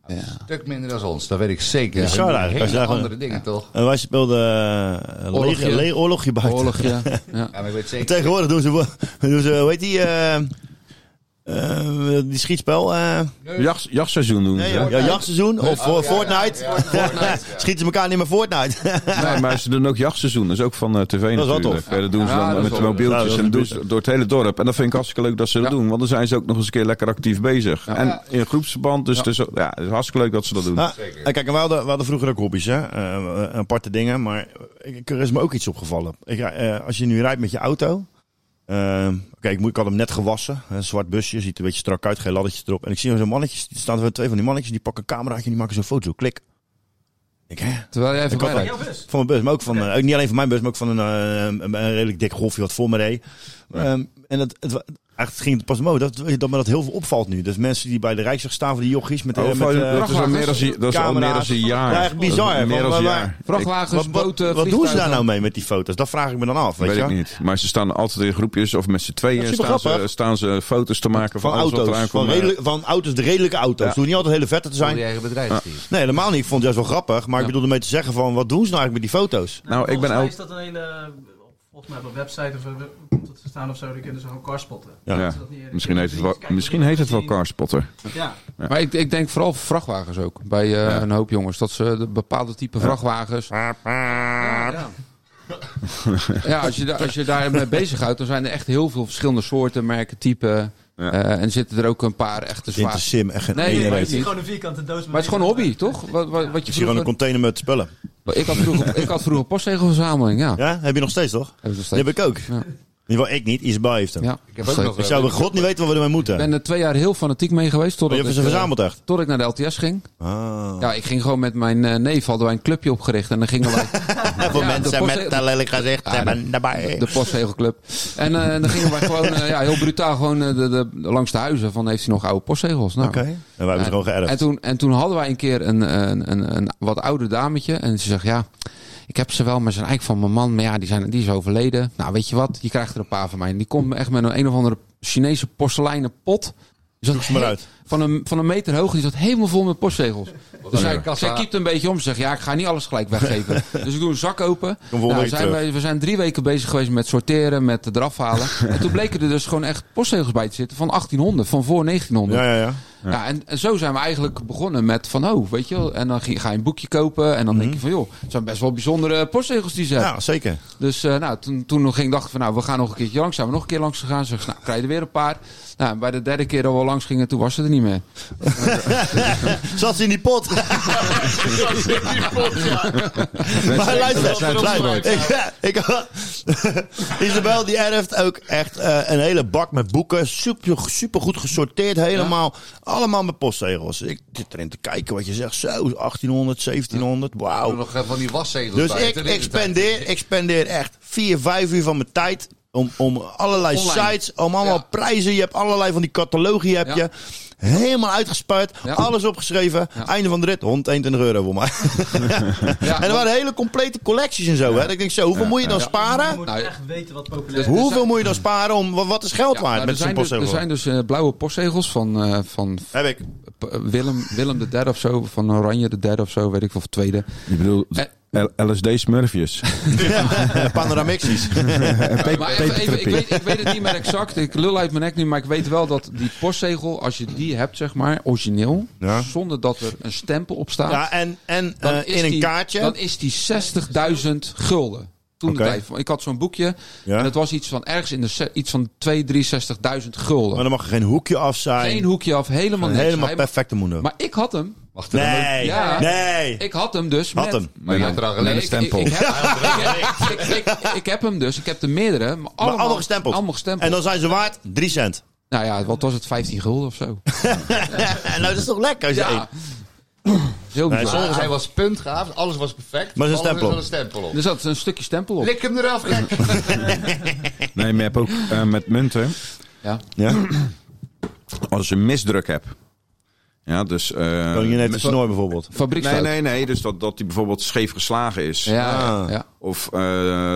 Speaker 4: Een stuk minder dan ons, dat weet ik zeker.
Speaker 1: Bizar
Speaker 4: Dat doen
Speaker 1: eigenlijk, als je
Speaker 4: hele
Speaker 1: daar gewoon-
Speaker 4: andere dingen toch?
Speaker 1: En wij speelden eh, een
Speaker 6: Oorlogje.
Speaker 1: lege- le- oorlogje buiten.
Speaker 6: Oorlogje. Ja.
Speaker 4: Ja, maar ik weet
Speaker 1: En
Speaker 4: zeker.
Speaker 1: [laughs] Tegenwoordig doen ze, wo- doen ze, hoe heet die, eh, eh, die schietspel? eh,
Speaker 7: Jacht, jachtseizoen doen
Speaker 1: nee,
Speaker 7: ze.
Speaker 1: ja,
Speaker 7: hè?
Speaker 1: jachtseizoen of eh,
Speaker 4: Oh, ja, ja,
Speaker 1: Fortnite.
Speaker 4: ja, Fortnite, ja.
Speaker 1: [laughs] Schieten ze elkaar niet meer Fortnite.
Speaker 7: Nee, maar ze doen ook jachtseizoen. Dat is ook van eh, tv
Speaker 1: wel
Speaker 7: natuurlijk.
Speaker 1: tof.
Speaker 7: Ja, dat doen ze
Speaker 6: Ja,
Speaker 7: dan
Speaker 6: dat is
Speaker 7: met de
Speaker 6: wel-
Speaker 1: Ja, dat
Speaker 7: mobieltjes
Speaker 1: is
Speaker 7: en
Speaker 1: wel
Speaker 7: dat doen
Speaker 1: goed.
Speaker 7: ze door het hele dorp. En dat vind ik hartstikke leuk dat ze dat
Speaker 6: Ja.
Speaker 7: doen. Want dan zijn ze ook nog eens een keer lekker actief bezig. En in groepsverband. Dus het is, ook- ja, het is hartstikke leuk dat ze dat doen.
Speaker 1: Ah, en kijk, en we, hadden, we hadden vroeger ook hobby's, hè? Eh, aparte dingen. Maar ik, er is me ook iets opgevallen. Ik, rij- eh, als je nu rijdt met je auto. ehm, Oké, ik, moet- ik had hem net gewassen. Een zwart busje, ziet er een beetje strak uit, geen laddertjes erop. En ik zie zo'n mannetje, er staan er twee van die mannetjes, die pakken een cameraatje en die maken zo'n foto. Klik. Ik, hè?
Speaker 6: Terwijl jij even
Speaker 1: Ik had
Speaker 6: bij
Speaker 2: Jouw bus.
Speaker 1: Van mijn bus, maar ook van, eh, ook niet alleen van mijn bus, maar ook van een, eh, een, een redelijk dik golfje wat voor me reed. Ehm, en dat, het, wa- Eigenlijk ging het pas mode dat, dat me dat heel veel opvalt nu. Dus mensen die bij de Rijksdag staan voor die jochies met... eh,
Speaker 7: Oh,
Speaker 1: met
Speaker 7: van-
Speaker 1: eh,
Speaker 7: dat, is al meer dan, een- dat is al meer dan
Speaker 1: camera's.
Speaker 7: een jaar.
Speaker 1: Ja, echt bizar,
Speaker 7: Dat is Meer
Speaker 1: want
Speaker 7: dan een
Speaker 1: wij-
Speaker 7: jaar.
Speaker 1: wat,
Speaker 6: Vrachtwagens,
Speaker 1: wat- wat
Speaker 6: boten,
Speaker 1: doen ze daar
Speaker 6: vliegtuigen.
Speaker 1: nou mee met die foto's? Dat vraag ik me dan af, weet,
Speaker 7: Weet,
Speaker 1: je?
Speaker 7: ik niet. Maar ze staan altijd in groepjes of met z'n tweeën
Speaker 1: is
Speaker 7: staan ze,
Speaker 1: supergrappig.
Speaker 7: staan ze foto's te maken van,
Speaker 1: Van
Speaker 7: alles wat
Speaker 1: auto's,
Speaker 7: eraan
Speaker 1: van,
Speaker 7: komt.
Speaker 1: redelijk- van auto's, de redelijke auto's.
Speaker 7: Ja.
Speaker 1: Ze hoeven niet altijd hele vette te
Speaker 4: Voor je
Speaker 1: zijn.
Speaker 4: eigen bedrijfsdienst.
Speaker 1: Nee, helemaal niet. Ik vond het juist wel grappig. Maar ik bedoel ermee te zeggen van, wat doen ze nou eigenlijk met die foto's?
Speaker 7: Nou, ik ben
Speaker 2: Volgens mij
Speaker 7: ook-
Speaker 2: is dat een hele... Volgens mij op een website of eh, komt het te staan of zo. Dan kunnen ze gewoon carspotten.
Speaker 7: Ja.
Speaker 2: Dat ze dat niet eerder
Speaker 7: Misschien
Speaker 2: kunnen
Speaker 7: heet het wel,
Speaker 2: zien. Kijk,
Speaker 7: misschien
Speaker 2: wat
Speaker 7: heet
Speaker 2: je
Speaker 7: het wel
Speaker 2: hebt gezien.
Speaker 7: Carspotter.
Speaker 2: Ja.
Speaker 1: nou?
Speaker 6: Maar ik, ik denk vooral vrachtwagens ook. Bij eh, een hoop jongens. Dat ze de bepaalde type vrachtwagens.
Speaker 2: Ja, ja.
Speaker 6: Ja, als je, daar- als je daarmee bezighoudt, dan zijn er echt heel veel verschillende soorten, merken, typen.
Speaker 7: Ja.
Speaker 6: Eh, en zitten er ook een paar echte
Speaker 1: Inter
Speaker 6: zwaar.
Speaker 1: Sim, echt geen
Speaker 6: Nee,
Speaker 1: ene
Speaker 6: nee,
Speaker 2: Maar
Speaker 1: weet.
Speaker 2: het is
Speaker 6: niet.
Speaker 2: gewoon een vierkante doos. met
Speaker 6: Maar het is gewoon een hobby,
Speaker 2: negen-
Speaker 6: toch? Wat, wat, wat je
Speaker 1: Misschien gewoon een
Speaker 6: vroeger,
Speaker 1: container met spullen.
Speaker 6: ik, had vroeger, ik had vroeger een postzegelverzameling, ja.
Speaker 1: Ja, heb je nog steeds toch?
Speaker 6: Heb ik nog steeds.
Speaker 1: Die heb ik ook.
Speaker 6: Ja.
Speaker 1: In ieder geval ik niet, Isabel heeft hem.
Speaker 6: Ja.
Speaker 4: Ik heb ook nog...
Speaker 1: Ik zou bij God niet weten wat we ermee moeten.
Speaker 6: Ik ben er twee jaar heel fanatiek mee geweest.
Speaker 1: Maar Oh,
Speaker 6: Totdat
Speaker 1: je hebt ze
Speaker 6: ik, eh,
Speaker 1: verzameld echt.
Speaker 6: Tot ik naar de LTS ging.
Speaker 1: Ah.
Speaker 6: Ja, ik ging gewoon met mijn eh, neef, hadden wij een clubje opgericht. En dan gingen
Speaker 1: [laughs]
Speaker 6: wij
Speaker 1: En voor
Speaker 6: Ja, de
Speaker 1: mensen
Speaker 6: post-
Speaker 1: met een lelijk gezicht
Speaker 6: Ja,
Speaker 1: hebben daarbij.
Speaker 6: De postzegelclub. En eh, dan gingen wij gewoon eh, ja, heel brutaal gewoon eh, de, de, langs de huizen van heeft hij nog oude postzegels. Nou,
Speaker 1: Oké. En wij hebben ze gewoon
Speaker 6: en
Speaker 1: geërfd.
Speaker 6: toen, en toen hadden wij een keer een, een, een, een wat ouder dametje. En ze zegt, ja, ik heb ze wel, maar ze zijn eigenlijk van mijn man. Maar ja, die, zijn, die is overleden. Nou, weet je wat? Je krijgt er een paar van mij. En die komt echt met een, een of andere Chinese porseleinen pot. Die zat
Speaker 1: Zoek ze maar
Speaker 6: he-
Speaker 1: uit.
Speaker 6: Van een, van een meter hoog. Die zat helemaal vol met postzegels. Dus zij,
Speaker 4: leuk.
Speaker 6: zij kiept een beetje om. Ze zegt, ja, ik ga niet alles
Speaker 1: [laughs]
Speaker 6: gelijk weggeven. dus ik doe een zak open.
Speaker 1: volgende
Speaker 6: Nou,
Speaker 1: week
Speaker 6: zijn
Speaker 1: terug.
Speaker 6: wij- we zijn drie weken bezig geweest met sorteren, met het
Speaker 1: [laughs]
Speaker 6: eraf halen. en toen bleken er dus gewoon echt postzegels bij te zitten van 1800, van voor 1900.
Speaker 1: Ja, ja, ja.
Speaker 6: Ja, en, en zo zijn we eigenlijk begonnen met van, oh, weet je wel. En dan ga ga je een boekje kopen en dan denk je van, joh, het zijn best wel bijzondere postzegels die ze hebben.
Speaker 1: Mhm. Ja, zeker.
Speaker 6: Dus eh, nou, toen, toen nog ging, dacht ik van, nou, we gaan nog een keertje langs. Zijn we nog een keer langs gegaan. Zeg, nou, krijg je er weer een paar. Nou, en bij de derde keer dat we langs gingen, toen was ze er niet meer.
Speaker 1: [laughs] Zat ze in die pot? maar
Speaker 4: dat
Speaker 1: luister,
Speaker 4: zijn
Speaker 1: luister.
Speaker 4: opschrijven.
Speaker 1: Ik, ik, [laughs] Isabel die erft ook echt eh, een hele bak met boeken. Super, super goed gesorteerd, helemaal. Allemaal met postzegels. Ik zit erin te kijken wat je zegt. Zo, 1800, 1700, wauw.
Speaker 4: nog eh, van die waszegels
Speaker 1: Dus
Speaker 4: bij.
Speaker 1: ik,
Speaker 4: Toen
Speaker 1: ik, spendeer, ik spendeer echt 4, 5 uur van mijn tijd om, om allerlei
Speaker 6: Online.
Speaker 1: sites, om allemaal
Speaker 6: Ja.
Speaker 1: prijzen. Je hebt allerlei van die catalogie heb
Speaker 6: Ja.
Speaker 1: je. Helemaal uitgespuit,
Speaker 6: Ja.
Speaker 1: alles opgeschreven.
Speaker 6: Ja.
Speaker 1: Einde van de rit, 121 euro voor mij.
Speaker 6: [laughs] Ja,
Speaker 1: en er waren hele complete collecties en zo. Hè. Ik denk zo, hoeveel moet je dan
Speaker 2: Je
Speaker 1: sparen?
Speaker 2: moet
Speaker 6: Nou,
Speaker 2: echt weten wat populair is.
Speaker 1: Hoeveel
Speaker 6: zijn-
Speaker 1: moet je dan sparen om, wa- wat is geld
Speaker 6: Ja,
Speaker 1: waard
Speaker 6: nou,
Speaker 1: met
Speaker 6: er,
Speaker 1: zo'n
Speaker 6: zijn dus, er
Speaker 1: postzegel?
Speaker 6: zijn dus eh, blauwe postzegels van, eh, van
Speaker 1: Heb
Speaker 6: [laughs]
Speaker 1: ik.
Speaker 6: P- Willem, Willem de derde of zo, van Oranje de derde of zo, weet ik veel, of tweede.
Speaker 7: Ik bedoel,
Speaker 6: [laughs]
Speaker 7: LSD-smurfjes.
Speaker 1: Panoramixies.
Speaker 6: maar even, even, ik, weet, ik weet het niet meer exact, ik lul uit mijn nek nu, maar ik weet wel dat die postzegel, als je die hebt, zeg maar, origineel,
Speaker 1: Ja.
Speaker 6: zonder dat er een stempel op staat,
Speaker 1: Ja, en, en
Speaker 6: dan
Speaker 1: eh,
Speaker 6: is
Speaker 1: in een
Speaker 6: die-
Speaker 1: kaartje.
Speaker 6: Dan is die 60.000 gulden. Toen
Speaker 1: Oké.
Speaker 6: de tijd. Ik had zo'n boekje
Speaker 1: Ja.
Speaker 6: en het was iets van ergens in de se- iets van 2, 63.000 gulden.
Speaker 1: maar dan mag er geen hoekje af zijn.
Speaker 6: Geen hoekje af, helemaal niks.
Speaker 1: helemaal
Speaker 6: Hij-
Speaker 1: perfecte mundo.
Speaker 6: Maar ik had hem. Wacht
Speaker 1: Nee,
Speaker 6: Ja.
Speaker 1: nee.
Speaker 6: Ik had hem dus.
Speaker 1: Had
Speaker 6: met-
Speaker 1: hem.
Speaker 7: Maar
Speaker 4: je had er al
Speaker 6: Nee,
Speaker 4: alleen
Speaker 6: ik-
Speaker 4: een stempel.
Speaker 6: Ik, ik, heb,
Speaker 1: [laughs]
Speaker 6: ik, ik, ik- ik heb hem dus. Ik heb er meerdere. Maar allemaal,
Speaker 1: Maar allemaal gestempeld.
Speaker 6: Allemaal gestempeld.
Speaker 1: En dan zijn ze waard 3
Speaker 6: [laughs]
Speaker 1: cent.
Speaker 6: Nou ja, wat was het? 15 gulden of [laughs] zo.
Speaker 1: En [laughs] nou, dat is toch lekker? als je
Speaker 6: Ja.
Speaker 1: eet.
Speaker 6: Heel
Speaker 1: Nee,
Speaker 6: bizar.
Speaker 1: sommige
Speaker 4: Ah, hij was puntgaaf, alles was perfect.
Speaker 1: Maar zijn
Speaker 4: alles
Speaker 1: stempel.
Speaker 4: had een stempel op.
Speaker 6: Er zat een stukje stempel op.
Speaker 4: Lik hem eraf, gek.
Speaker 6: [laughs]
Speaker 7: Nee, maar je hebt ook eh, met munten.
Speaker 6: Ja.
Speaker 1: Ja?
Speaker 7: Als je misdruk hebt. Ja, dus... eh,
Speaker 1: Koningin heeft een
Speaker 7: met-
Speaker 1: snoer bijvoorbeeld.
Speaker 7: Nee,
Speaker 6: Fabrieksfout.
Speaker 7: nee, nee. Dus dat, dat die bijvoorbeeld scheef geslagen is.
Speaker 6: Ja, ja, ja.
Speaker 7: Of, eh,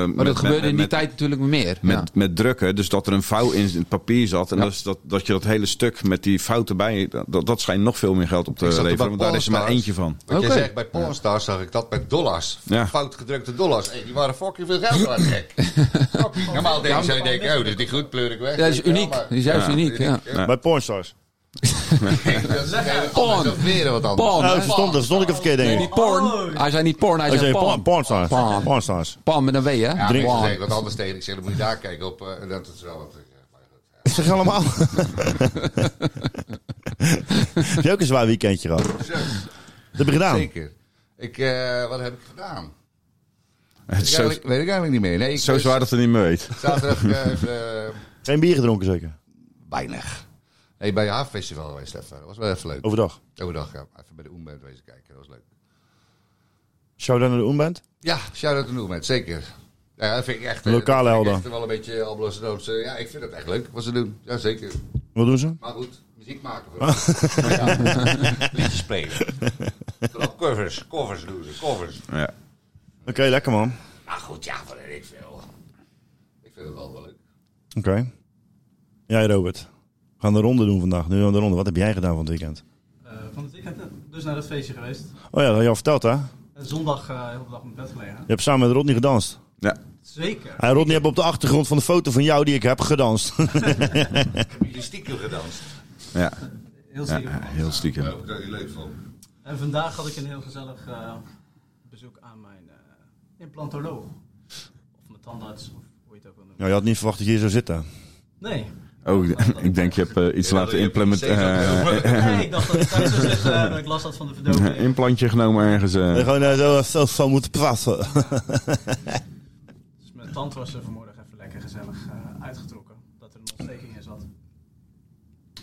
Speaker 6: Maar dat gebeurde in die tijd natuurlijk meer.
Speaker 7: Met,
Speaker 6: ja.
Speaker 7: met drukken, dus dat er een vouw in het papier zat. En dat, is dat, dat je dat hele stuk met die fouten bij, dat, dat schijnt nog veel meer geld op te
Speaker 4: Ik zat er
Speaker 7: leveren.
Speaker 4: bij
Speaker 7: Want daar is er maar
Speaker 4: Pornstars.
Speaker 7: eentje van.
Speaker 4: Wat
Speaker 6: Oké.
Speaker 4: jij zegt, bij Pornstars zag ik dat met dollars.
Speaker 7: Ja.
Speaker 4: Fout gedrukte dollars. Hey, die waren fucking veel geld waard,
Speaker 6: [laughs]
Speaker 4: gek. Fucking. Normaal denken zij, denken, oh, dus die goed pleur ik weg.
Speaker 6: Ja, dat is uniek.
Speaker 4: maar-
Speaker 6: Die is juist
Speaker 7: Ja.
Speaker 6: uniek. Ja.
Speaker 1: Bij pornstars.
Speaker 4: Dat is een-
Speaker 6: Porn.
Speaker 4: dat is weer wat anders.
Speaker 6: Porn.
Speaker 1: Oh,
Speaker 6: hè?
Speaker 1: verstond, dat verstond ik er verkeerd,
Speaker 6: Nee,
Speaker 1: denk
Speaker 6: niet
Speaker 1: ik.
Speaker 6: porn. Hij zei niet porn, hij
Speaker 1: Hij
Speaker 6: zei
Speaker 1: zei
Speaker 6: porn.
Speaker 1: porn- pornstars.
Speaker 6: Porn.
Speaker 1: Pornstars.
Speaker 6: Porn met een W, hè?
Speaker 4: Ja,
Speaker 6: Porn.
Speaker 4: mensen zeggen wat anders tegen. Ik zeg, dan moet je daar kijken op. eh, en dat is wel wat.
Speaker 1: Ik zeg [laughs] allemaal. Heb je ook een zwaar weekendje gehad? Dat
Speaker 4: Zo,
Speaker 1: heb je gedaan.
Speaker 4: zeker. Ik, eh, wat heb ik gedaan?
Speaker 7: Het
Speaker 4: Ik
Speaker 7: is [laughs] zo,
Speaker 4: eigenlijk- weet ik eigenlijk niet meer. Nee, ik
Speaker 7: zo zwaar dat het niet meer weet.
Speaker 4: Zaterdag eh, eh,
Speaker 1: Geen bier gedronken zeker?
Speaker 4: weinig. Nee, bij haar festival geweest even. Dat was wel even leuk.
Speaker 1: Overdag.
Speaker 4: Overdag, ja. Even bij de Oemband wezen kijken. Dat was leuk.
Speaker 1: Shout-out naar de Oenband.
Speaker 4: Ja, shout-out to Noemet, zeker. Ja, dat vind ik echt... eh,
Speaker 1: Lokale
Speaker 4: dat vind ik
Speaker 1: helden.
Speaker 4: echt wel een beetje Alblasdoods. Ja, ik vind het echt leuk wat ze doen. Jazeker.
Speaker 1: Wat doen ze?
Speaker 4: Maar goed, muziek
Speaker 1: [laughs]
Speaker 4: maken we. ja, liedjes spelen. Vooral covers, covers doen ze, covers.
Speaker 7: Ja.
Speaker 1: Oké, lekker man.
Speaker 4: Maar Nou goed, ja, wat weet ik veel. Ik vind het wel wel leuk.
Speaker 1: Oké. Jij Robert. We gaan de ronde doen vandaag. Nu gaan we de ronde. Wat heb jij gedaan van het weekend?
Speaker 2: Eh, van het weekend eh, dus naar dat feestje geweest.
Speaker 1: Oh ja, dat had je al verteld hè?
Speaker 2: En zondag eh heel de dag op bed gelegen.
Speaker 1: Je hebt samen met Rodney gedanst.
Speaker 2: Zeker.
Speaker 1: En Rodney heeft op de achtergrond van de foto van jou die ik heb gedanst. [laughs] Nou,
Speaker 4: Hebben jullie stiekem gedanst?
Speaker 7: Ja.
Speaker 2: Heel
Speaker 7: ja,
Speaker 2: zeker.
Speaker 7: heel stiekem.
Speaker 4: Daar word ik leuk van.
Speaker 2: En vandaag had ik een heel gezellig eh, bezoek aan mijn eh, implantoloog. Of mijn tandarts, of hoe je het ook wil noemen.
Speaker 1: Nou, je had niet verwacht dat je hier zou zitten.
Speaker 2: Nee.
Speaker 7: Oh, [laughs] ik denk je hebt eh, iets
Speaker 4: Ja,
Speaker 7: laten
Speaker 4: je
Speaker 7: implementeren.
Speaker 4: hebt een
Speaker 2: nee, ik dacht dat ik thuis zou zitten, eh, maar ik las dat van de
Speaker 7: Een [laughs]
Speaker 2: verdoving.
Speaker 7: implantje genomen ergens. eh.
Speaker 1: Je hebt gewoon eh, zo, zo van moeten praten.
Speaker 2: Dus mijn tand was er vanmorgen even lekker gezellig eh, uitgetrokken. Dat er een ontsteking in zat.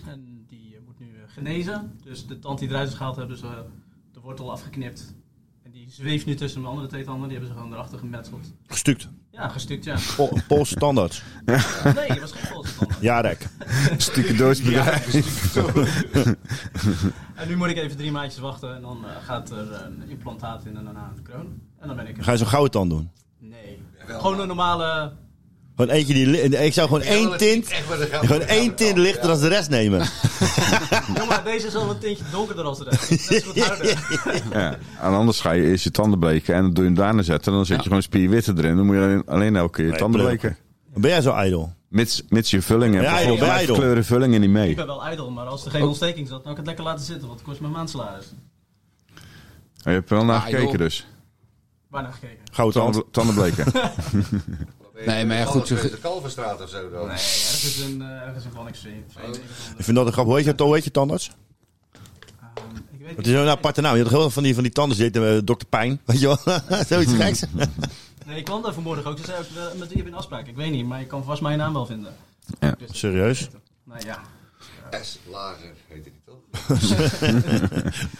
Speaker 2: En die eh, moet nu eh, genezen. Dus de tand die eruit is gehaald hebben ze eh, de wortel afgeknipt. En die zweeft nu tussen mijn andere twee tanden. Die hebben ze gewoon erachter gemetseld.
Speaker 1: [laughs] Gestuukt.
Speaker 2: Ja, gestuukt ja.
Speaker 1: Po Poolse tandarts.
Speaker 2: Nee, het was geen valse tand.
Speaker 1: Jarek.
Speaker 7: Stiekem doorsbedrijf.
Speaker 2: En nu moet ik even drie maandjes wachten. En dan eh, gaat er een implantaat in en daarna een kroon. En dan ben ik er.
Speaker 1: Ga je zo'n gouden tand doen?
Speaker 2: Nee. Gewoon een normale...
Speaker 1: Gewoon eentje die... li- Ik zou gewoon
Speaker 4: Ja,
Speaker 1: één
Speaker 4: dat
Speaker 1: tint...
Speaker 4: is echt wel een grap.
Speaker 1: Gewoon één tint lichter dan de rest nemen.
Speaker 2: Jongen, deze is al een tintje donkerder als de rest. Dat is wat harder.
Speaker 7: Ja. En anders ga je eerst je tanden bleken en dan doe je hem daarna zetten. Dan zit je gewoon spierwitte erin. Dan moet je alleen, alleen elke keer je
Speaker 1: Nee,
Speaker 7: tanden
Speaker 1: pleur.
Speaker 7: bleken.
Speaker 1: Ben jij zo ijdel?
Speaker 7: Mits, mits je vulling hebt.
Speaker 1: Ja,
Speaker 7: Ja,
Speaker 1: idol,
Speaker 7: ja,
Speaker 1: idol.
Speaker 7: kleuren vullingen niet mee.
Speaker 2: Ik ben wel ijdel, maar als er geen ontsteking zat, dan had ik het lekker laten zitten. Want het kost mijn maandsalaris.
Speaker 7: Maar je hebt er wel naar
Speaker 6: Ah,
Speaker 7: gekeken
Speaker 6: joh.
Speaker 7: dus.
Speaker 2: Waarna gekeken.
Speaker 1: Gouden tand.
Speaker 7: Tanden, tanden bleken.
Speaker 6: Nee, maar ja, goed, ze-
Speaker 4: De Kalverstraat of zo dan.
Speaker 2: Nee, ergens in, eh ergens in Wanningsveen. eh,
Speaker 1: Ik vind dat een grap. Hoe heet je, hoe heet je tandarts?
Speaker 2: ik weet
Speaker 1: Het is
Speaker 2: niet.
Speaker 1: een aparte naam. Je had heel veel van die, van die tandarts. Die heette, eh, Dr. Pijn. Weet je wel? [laughs] Zoiets geks.
Speaker 2: Nee, ik kwam daar vanmorgen ook. Ze zei ook, eh, met wie heb je een afspraak? Ik weet niet, maar je kan vast mijn naam wel vinden.
Speaker 7: Ja.
Speaker 2: Dus,
Speaker 1: Serieus?
Speaker 2: nou ja.
Speaker 4: S. Lager heette die toch?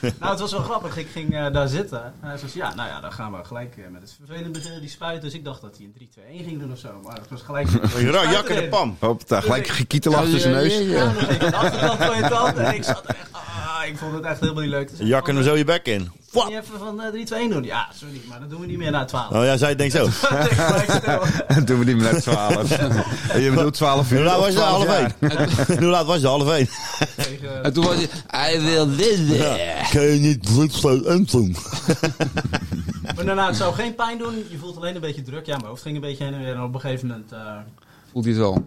Speaker 2: Nou, het was wel grappig. Ik ging eh, daar zitten. En hij zei, ja, nou ja, dan gaan we gelijk eh, met het vervelend beginnen, die spuit. Dus ik dacht dat hij een 3-2-1 ging doen of zo. Maar het was
Speaker 1: [laughs]
Speaker 2: gelijk...
Speaker 1: Ra- Jak in de pam.
Speaker 7: Hop, daar gelijk gekietel achter zijn neus.
Speaker 2: Ja, dan ging ik aan de achterkant van je tand. En ik zat er echt... Ah, ik vond het echt helemaal niet leuk. Dus
Speaker 1: Jak hem zo je bek in.
Speaker 2: Kun je even van eh, 3-2-1 doen? Ja, sorry, maar dat doen we niet meer na 12.
Speaker 1: Nou ja, zij denkt zo.
Speaker 2: Ik gelijk stil.
Speaker 7: En [laughs] doen we die met
Speaker 1: [laughs]
Speaker 7: 12. je bedoelt 12 uur.
Speaker 1: Hoe laat
Speaker 7: of
Speaker 1: was je?
Speaker 7: 12
Speaker 1: Half
Speaker 7: jaar.
Speaker 1: één. [laughs] Hoe laat was je? Half één.
Speaker 2: Tegen-
Speaker 6: En toen was je... Hij wil dit.
Speaker 1: Kun je niet bloed zo doen?
Speaker 2: Maar daarna, het zou geen pijn doen. Je voelt alleen een beetje druk. Ja, mijn hoofd ging een beetje heen en weer. En op een gegeven moment eh,
Speaker 6: Voelt hij het wel.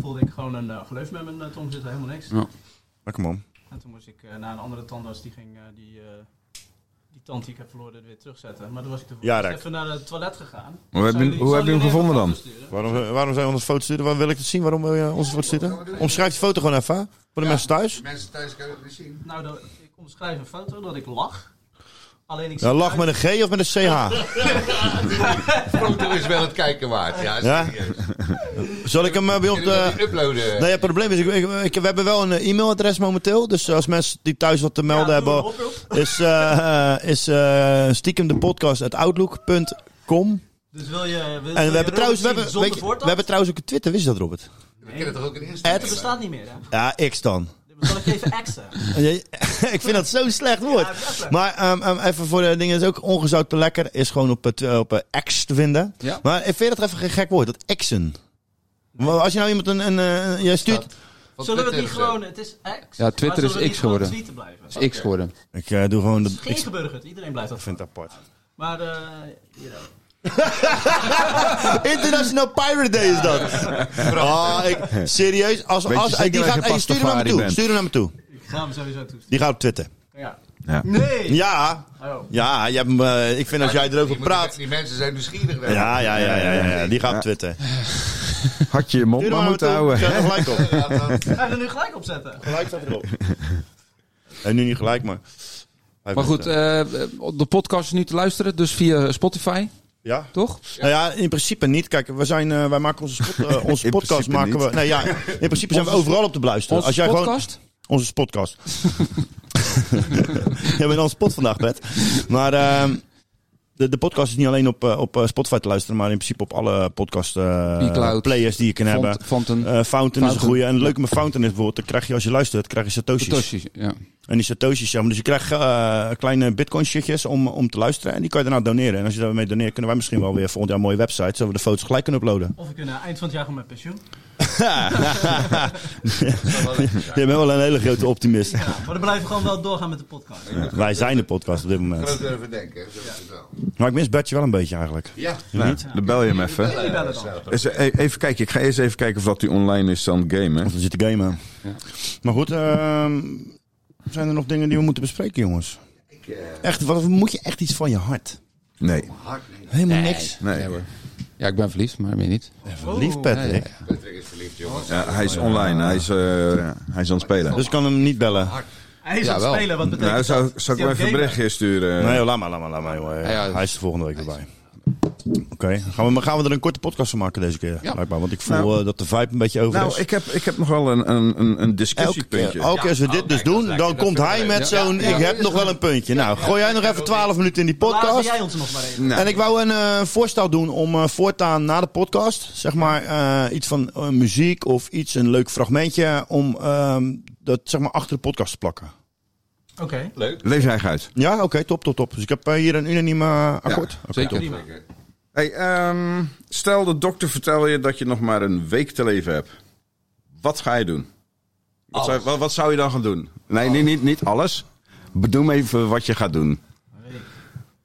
Speaker 2: voelde ik gewoon een eh, gleuf met mijn eh, tong zitten. Helemaal niks.
Speaker 6: Ja.
Speaker 1: Lekker man.
Speaker 2: En toen moest ik eh, naar een andere tandarts. Die ging eh, die, eh, die tand die ik heb verloren weer terugzetten. Maar toen was ik ervoor
Speaker 1: Ja,
Speaker 2: eerst
Speaker 1: Rijk.
Speaker 2: even naar het toilet gegaan.
Speaker 7: Hoe heb je-
Speaker 2: Zou jullie-
Speaker 7: hoe
Speaker 2: zou
Speaker 7: heb je hem
Speaker 2: jullie
Speaker 7: gevonden
Speaker 2: even
Speaker 7: dan?
Speaker 2: foto's sturen?
Speaker 1: Waarom, eh, waarom zijn we ons foto sturen? Waarom wil ik het zien? Waarom wil je ons foto sturen? Omschrijf die foto gewoon even. Voor de mensen thuis.
Speaker 4: Mensen thuis kunnen het niet zien.
Speaker 2: Nou, dat, ik omschrijf een foto dat ik lach. Alleen ik zie
Speaker 1: Ja, lach
Speaker 2: uit-
Speaker 1: met een G of met een CH?
Speaker 4: Foto is wel het kijken waard. Ja,
Speaker 1: Ja?
Speaker 4: serieus.
Speaker 1: Zal ik hem eh, bij ons...
Speaker 4: Jullie willen
Speaker 1: eh,
Speaker 4: die uploaden.
Speaker 1: Nee, het probleem is, ik, ik- ik- we hebben wel een eh, e-mailadres momenteel. Dus als mensen die thuis wat te
Speaker 2: Ja,
Speaker 1: melden
Speaker 2: doe
Speaker 1: hebben,
Speaker 2: een oproep.
Speaker 1: is, eh is eh stiekem de podcast at outlook.com.
Speaker 2: Dus wil je... Wil, wil
Speaker 1: En
Speaker 2: je
Speaker 1: we hebben,
Speaker 2: Robert
Speaker 1: trouwens, we,
Speaker 2: zien
Speaker 1: hebben,
Speaker 2: zonder
Speaker 1: weet je, we
Speaker 2: voortand?
Speaker 1: hebben trouwens ook een Twitter, wist je dat Robert?
Speaker 4: We kunnen toch ook een
Speaker 2: Het
Speaker 4: Instagram.
Speaker 2: bestaat niet meer, hè?
Speaker 1: Ja, ik dan.
Speaker 2: Dan zal ik even extra.
Speaker 1: [laughs] ik vind dat zo'n slecht woord.
Speaker 2: Ja, dat is leuk.
Speaker 1: Maar ehm, ehm, even voor de dingen, is ook ongezout te lekker. Is gewoon op, het, eh, op eh, X te vinden.
Speaker 6: Ja.
Speaker 1: Maar ik vind dat even geen gek woord, dat Xen. Maar Als je nou iemand een... een, eh, jij stuurt...
Speaker 4: Van
Speaker 2: Zullen we het niet
Speaker 4: Twitter eh, of zo.
Speaker 2: gewoon... Het is X.
Speaker 6: Ja, Twitter
Speaker 2: maar zullen
Speaker 6: is
Speaker 2: we niet
Speaker 6: X
Speaker 2: gewoon
Speaker 6: geworden.
Speaker 2: tweeten blijven?
Speaker 6: Dat is X geworden.
Speaker 1: Ik eh, doe gewoon... De,
Speaker 2: Het is
Speaker 1: ik
Speaker 2: Geen geburgerd. Iedereen blijft dat
Speaker 1: vind
Speaker 2: vinden.
Speaker 1: het apart.
Speaker 2: Maar eh hier ook.
Speaker 1: International Pirate Day is [laughs] dat. Ah, ik, serieus, als,
Speaker 7: Weet je
Speaker 1: als,
Speaker 7: zeker
Speaker 1: die
Speaker 7: dat
Speaker 1: gaat,
Speaker 7: je
Speaker 1: hey, stuur hem naar me
Speaker 7: Pastafari
Speaker 1: toe.
Speaker 7: bent?
Speaker 1: Stuur hem naar me toe.
Speaker 2: ik ga hem sowieso toesturen.
Speaker 1: Die gaat op Twitter.
Speaker 2: Ja.
Speaker 7: Ja.
Speaker 2: Nee!
Speaker 1: Ja,
Speaker 2: Oh.
Speaker 1: ja, je hebt hem, eh, ik vind als jij
Speaker 4: Die
Speaker 1: erover
Speaker 4: moeten-
Speaker 1: praat.
Speaker 4: Die mensen zijn nieuwsgierig. hè.
Speaker 1: Ja, ja, ja, ja, ja, ja, die gaat op Twitter.
Speaker 7: Had je je mond maar moeten houden.
Speaker 1: Zet er gelijk op.
Speaker 4: Ja, dat-
Speaker 2: Ga je er nu gelijk op zetten?
Speaker 1: Gelijk staat erop. [laughs] En nu niet gelijk, maar. Hij
Speaker 6: Maar
Speaker 1: vindt,
Speaker 6: goed,
Speaker 1: eh,
Speaker 6: eh, de podcast is nu te luisteren, dus via Spotify,
Speaker 1: ja.
Speaker 6: toch?
Speaker 1: Nou ja, in principe niet. Kijk, we zijn, eh, wij maken onze,
Speaker 6: [laughs]
Speaker 1: spot- eh, onze podcast.
Speaker 7: In principe
Speaker 1: Maken we,
Speaker 7: niet.
Speaker 1: nee, ja, in principe zijn we
Speaker 6: Onze-
Speaker 1: overal op te beluisteren.
Speaker 6: Onze
Speaker 1: Als jij gewoon,
Speaker 6: podcast.
Speaker 1: Onze
Speaker 6: [laughs]
Speaker 1: podcast. Jij bent al spot vandaag, Pet. Maar ehm, de, de podcast is niet alleen op, eh, op eh, Spotify te luisteren, maar in principe op alle podcast eh,
Speaker 6: iCloud,
Speaker 1: players die je kan hebben.
Speaker 6: Font, Fonten,
Speaker 1: Eh, Fountain is een
Speaker 6: Fountain.
Speaker 1: goeie. En het leuke met Fountain is bijvoorbeeld, dan krijg je als je luistert, krijg je satoshis.
Speaker 6: Toshi, ja.
Speaker 1: En die satoshis, ja, maar dus je krijgt eh, kleine bitcoin shitjes om, om te luisteren. En die kan je daarna doneren. En als je daarmee doneert, kunnen wij misschien wel weer volgend jaar een mooie website, zodat we de foto's gelijk kunnen
Speaker 7: [laughs]
Speaker 1: uploaden.
Speaker 2: Of ik kan eh, eind van het jaar gewoon met pensioen.
Speaker 1: Je bent wel een hele grote optimist.
Speaker 2: Ja, maar dan blijven we gewoon wel doorgaan met de podcast.
Speaker 1: Wij zijn de podcast op dit moment.
Speaker 4: Groot durven denken. zo is het wel.
Speaker 1: Maar ik mis Bertje wel een beetje eigenlijk.
Speaker 4: Ja.
Speaker 7: Nou, dan bel je hem even.
Speaker 2: Jullie bellen dan.
Speaker 7: Eens, e- even kijken, ik ga eerst even kijken of dat die online is aan het gamen.
Speaker 1: Of er zit de game aan. Maar goed, ehm, zijn er nog dingen die we moeten bespreken, jongens? Echt, wat, moet je echt iets van je hart?
Speaker 7: Nee.
Speaker 4: Hard niet.
Speaker 1: Helemaal niks.
Speaker 7: Nee. Oh,
Speaker 6: Ja, ik ben verliefd, maar meer niet.
Speaker 1: Lief
Speaker 6: Ja, ja,
Speaker 1: Patrick.
Speaker 6: ja.
Speaker 4: Patrick is verliefd, jongens.
Speaker 7: Ja, hij is online, hij is, eh, hij is aan het spelen.
Speaker 1: Dus ik kan hem niet bellen.
Speaker 2: Hij is aan het
Speaker 6: Jawel.
Speaker 2: spelen, wat betekent
Speaker 7: Nou,
Speaker 2: dat?
Speaker 7: zou, zou
Speaker 2: Is
Speaker 7: ik
Speaker 2: hij
Speaker 7: maar
Speaker 2: aan
Speaker 7: even
Speaker 2: het
Speaker 7: een
Speaker 2: gamen?
Speaker 7: berichtje
Speaker 4: Eh,
Speaker 7: sturen?
Speaker 1: Nee, joh, laat maar, laat maar, laat maar. joh.
Speaker 6: ja,
Speaker 4: dus-
Speaker 1: Hij is de volgende week erbij. Oké, gaan, we, maar gaan we er een korte podcast van maken deze keer?
Speaker 6: Ja.
Speaker 1: Blijkbaar, want ik voel
Speaker 7: Nou.
Speaker 1: eh, dat de vibe een beetje over is.
Speaker 7: Nou, ik heb, ik heb nog wel een, een, een- een
Speaker 1: Elke keer,
Speaker 7: discussiepuntje.
Speaker 1: elke keer als we
Speaker 4: Ja,
Speaker 1: dit
Speaker 4: oh,
Speaker 1: dus
Speaker 4: kijk, dat
Speaker 1: doen,
Speaker 4: lijkt-
Speaker 1: dan
Speaker 4: dat
Speaker 1: komt
Speaker 4: vind ik
Speaker 1: hij
Speaker 4: leuk.
Speaker 1: met
Speaker 4: Ja,
Speaker 1: zo'n...
Speaker 4: ja.
Speaker 1: ik heb nog wel een puntje. Nou, gooi jij nog even 12 minuten in die
Speaker 2: Laat
Speaker 1: podcast.
Speaker 2: jij ons nog maar even.
Speaker 7: Nou,
Speaker 1: En ik wou een eh, voorstel doen om eh, voortaan na de podcast, zeg maar, eh, iets van eh, muziek of iets, een leuk fragmentje, om ehm, dat zeg maar achter de podcast te plakken.
Speaker 2: Oké,
Speaker 4: Leuk.
Speaker 7: Lees jij uit.
Speaker 1: Ja, oké, top, top, top. Dus ik heb eh, hier een unaniem eh, akkoord.
Speaker 6: Zeker.
Speaker 2: prima.
Speaker 7: Hey, ehm, stel de dokter vertelt je dat je nog maar een week te leven hebt. Wat ga je doen? Wat zou, wat, wat zou je dan gaan doen? Nee, niet, niet, niet alles. Bedoel even wat je gaat doen.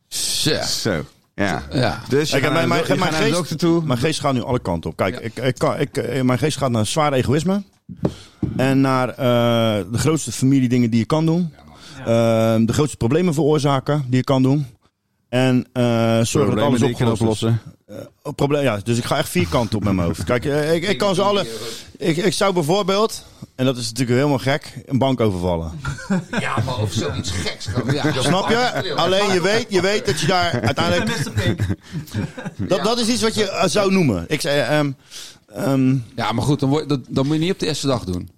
Speaker 6: Zo.
Speaker 7: Zo. Ja.
Speaker 6: Ja.
Speaker 7: Dus je
Speaker 1: Ik heb mijn,
Speaker 7: gaat naar
Speaker 1: mijn,
Speaker 7: de- je
Speaker 1: mijn
Speaker 7: gaat naar de
Speaker 1: geest,
Speaker 7: dokter toe.
Speaker 1: mijn geest gaat nu alle kanten op. Kijk, ik, ik, kan- ik, eh, mijn geest gaat naar zwaar egoïsme. En naar eh, de grootste familiedingen die je kan doen. Eh, de grootste problemen veroorzaken die je kan doen. En eh zorgen dat
Speaker 7: Problemen
Speaker 1: alles
Speaker 7: die je kan
Speaker 1: opgelost is.
Speaker 7: oplossen.
Speaker 1: Oh, probleem, ja, dus ik ga echt vierkant op met mijn hoofd. Kijk, eh, ik, ik kan ze alle. Ik, ik zou bijvoorbeeld, en dat is natuurlijk helemaal gek, een bank overvallen.
Speaker 4: Ja, maar of zoiets geks. gewoon. Ja.
Speaker 1: Snap je? Alleen je weet, je weet dat je daar
Speaker 2: En
Speaker 1: uiteindelijk.
Speaker 2: Mr. Pink.
Speaker 1: Dat, dat is iets wat je eh, zou noemen. Ik zei. ehm, ehm,
Speaker 6: Ja, maar goed, dan, word, dat, dat moet je niet op de eerste dag doen.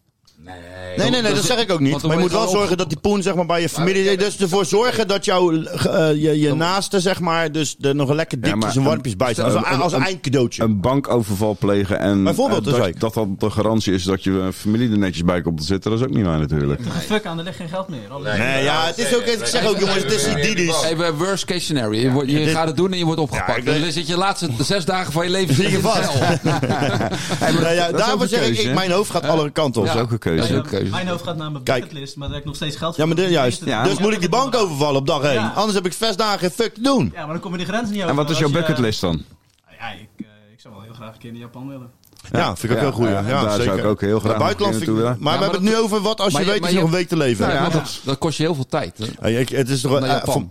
Speaker 4: Nee.
Speaker 1: nee, nee, nee,
Speaker 7: dus-
Speaker 1: dat zeg ik ook niet.
Speaker 6: Want dan
Speaker 1: Maar je moet
Speaker 6: word je
Speaker 1: wel
Speaker 6: gewoon
Speaker 1: zorgen dat die poen zeg maar, bij je familie. zit. Dus ervoor zorgen dat jouw eh, je, je naaste, zeg maar, dus er nog een lekker
Speaker 7: maar
Speaker 1: dikjes en
Speaker 7: een-
Speaker 1: warmpjes bij zijn. Als, een-
Speaker 7: een-
Speaker 1: als een
Speaker 7: een-
Speaker 1: eindcadeautje.
Speaker 7: Een bankoverval plegen en
Speaker 1: Bijvoorbeeld,
Speaker 7: eh,
Speaker 1: dat zei
Speaker 7: dat,
Speaker 1: ik.
Speaker 7: dat dat de garantie is dat je eh, familie er netjes bij komt te zitten, dat is ook niet waar natuurlijk.
Speaker 2: [laughs] Fuck aan, er ligt geen geld meer. Alle-
Speaker 1: Nee, ja, het is ook. Ik zeg ook, jongens, het is idylisch.
Speaker 6: Even eh, worst case scenario. Je, wordt, je
Speaker 1: dit-
Speaker 6: gaat het doen en je wordt
Speaker 1: Oh. Ja,
Speaker 6: opgepakt.
Speaker 1: ik
Speaker 6: Dus
Speaker 1: weet-
Speaker 6: dan zit je de laatste de zes dagen van je leven zit
Speaker 1: Zie je
Speaker 6: in de
Speaker 1: vast.
Speaker 6: cel.
Speaker 1: [laughs] Nou ja,
Speaker 7: dat is ook
Speaker 1: daarvoor
Speaker 7: een
Speaker 1: zeg ik,
Speaker 7: keuze,
Speaker 1: ik,
Speaker 7: hè?
Speaker 1: mijn hoofd gaat alle kanten op.
Speaker 6: Ja.
Speaker 7: Dat is ook een
Speaker 6: Dat is
Speaker 7: keuze.
Speaker 6: ook een keuze.
Speaker 2: Mijn hoofd gaat naar mijn
Speaker 1: Kijk.
Speaker 2: bucketlist, maar daar heb ik nog steeds geld voor.
Speaker 1: Ja, maar dit, juist.
Speaker 7: Ja.
Speaker 1: Dus moet ik die bank overvallen op dag 1.
Speaker 2: Ja.
Speaker 1: Anders heb ik vast dagen geen fuck te doen.
Speaker 2: Ja, maar dan kom je die grens niet over.
Speaker 7: En wat is
Speaker 2: Als
Speaker 7: jouw
Speaker 2: je- eh,
Speaker 7: bucketlist dan?
Speaker 2: Ja, ik, eh, ik zou wel heel graag een keer naar Japan willen.
Speaker 1: Ja, vind ik ook heel goed. Ja,
Speaker 7: daar
Speaker 1: zeker.
Speaker 7: zou ik ook heel graag
Speaker 1: Ja,
Speaker 7: nog
Speaker 1: buitenland
Speaker 7: een
Speaker 1: vind ik-
Speaker 7: keer naartoe
Speaker 1: Maar
Speaker 7: willen.
Speaker 6: Ja,
Speaker 1: we
Speaker 6: maar
Speaker 1: hebben het nu over wat als
Speaker 6: Maar
Speaker 1: je
Speaker 6: je-
Speaker 1: weet
Speaker 6: maar
Speaker 1: dat je nog
Speaker 6: je- Nou
Speaker 1: een week te leven
Speaker 6: Ja,
Speaker 1: hebt.
Speaker 6: maar dat, dat kost je heel veel tijd. hè.
Speaker 1: Hey, ik- Het is toch...
Speaker 6: Naar
Speaker 1: eh,
Speaker 6: Japan.
Speaker 1: voor-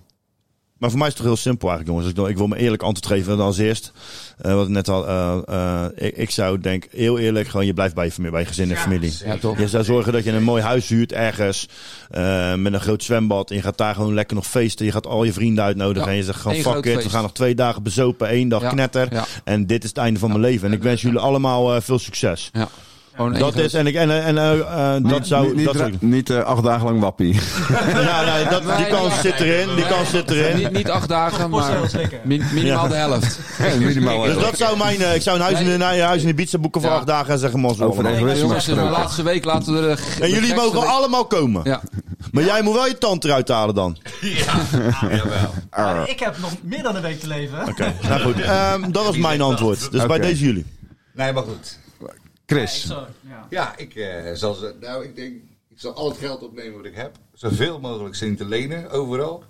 Speaker 1: Maar voor mij is het toch heel simpel eigenlijk, jongens. Ik, ik wil me eerlijk antwoord geven dan als eerst. eh, wat ik net al... eh, eh, ik, ik zou denk, heel eerlijk, gewoon je blijft bij je, familie, bij je gezin en familie.
Speaker 6: Ja, toch?
Speaker 1: Je zou zorgen dat je een mooi huis huurt ergens. eh, met een groot zwembad. En je gaat daar gewoon lekker nog feesten. Je gaat al je vrienden uitnodigen.
Speaker 6: Ja,
Speaker 1: En je zegt gewoon
Speaker 6: één
Speaker 1: fuck
Speaker 6: groot
Speaker 1: it. We
Speaker 6: feest.
Speaker 1: gaan nog twee dagen bezopen. één dag
Speaker 6: Ja,
Speaker 1: knetter.
Speaker 6: ja.
Speaker 1: En dit is het einde van mijn leven. En ik wens jullie allemaal eh, veel succes.
Speaker 6: Ja. Gewoon één
Speaker 1: Dat
Speaker 6: groot-
Speaker 1: is, en, ik, en, eh, en eh, eh, dat zou...
Speaker 7: Niet- niet
Speaker 1: dat
Speaker 7: dra-
Speaker 1: zou ik-
Speaker 7: niet eh, acht dagen lang wappie. [laughs]
Speaker 1: ja, nee, dat, die
Speaker 6: [laughs] Nee,
Speaker 1: kans
Speaker 6: nee.
Speaker 1: zit erin. Die kans zit erin.
Speaker 6: Niet, niet acht dagen,
Speaker 2: Kost heel
Speaker 6: maar
Speaker 2: zeker.
Speaker 6: min- minimaal
Speaker 1: Ja.
Speaker 6: de helft.
Speaker 7: minimaal.
Speaker 1: Dus dat zou mijn... eh, ik zou een huis in, een huis in Ibiza boeken voor
Speaker 6: Ja.
Speaker 1: acht dagen en zeggen... Mos, we
Speaker 7: Over de
Speaker 1: allemaal.
Speaker 6: Ja,
Speaker 7: egoïsme
Speaker 6: jongens, in de
Speaker 7: gesproken.
Speaker 6: laatste week laten we de. de
Speaker 1: en jullie
Speaker 6: gekste
Speaker 1: mogen
Speaker 6: week-
Speaker 1: allemaal komen.
Speaker 6: Ja,
Speaker 1: Maar jij moet wel je tand eruit halen dan.
Speaker 2: Maar ik heb nog meer dan een week te leven.
Speaker 1: Oké, nou goed. Ehm, dat was mijn antwoord. Dus bij
Speaker 7: Oké.
Speaker 1: deze jullie.
Speaker 4: Nee, maar goed.
Speaker 2: Ik
Speaker 7: Chris,
Speaker 2: zou- ja.
Speaker 4: Ja, ik eh, zal ze, nou, ik denk, ik zal al het geld opnemen wat ik heb. Zoveel mogelijk zien te lenen,
Speaker 1: [laughs]
Speaker 4: overal.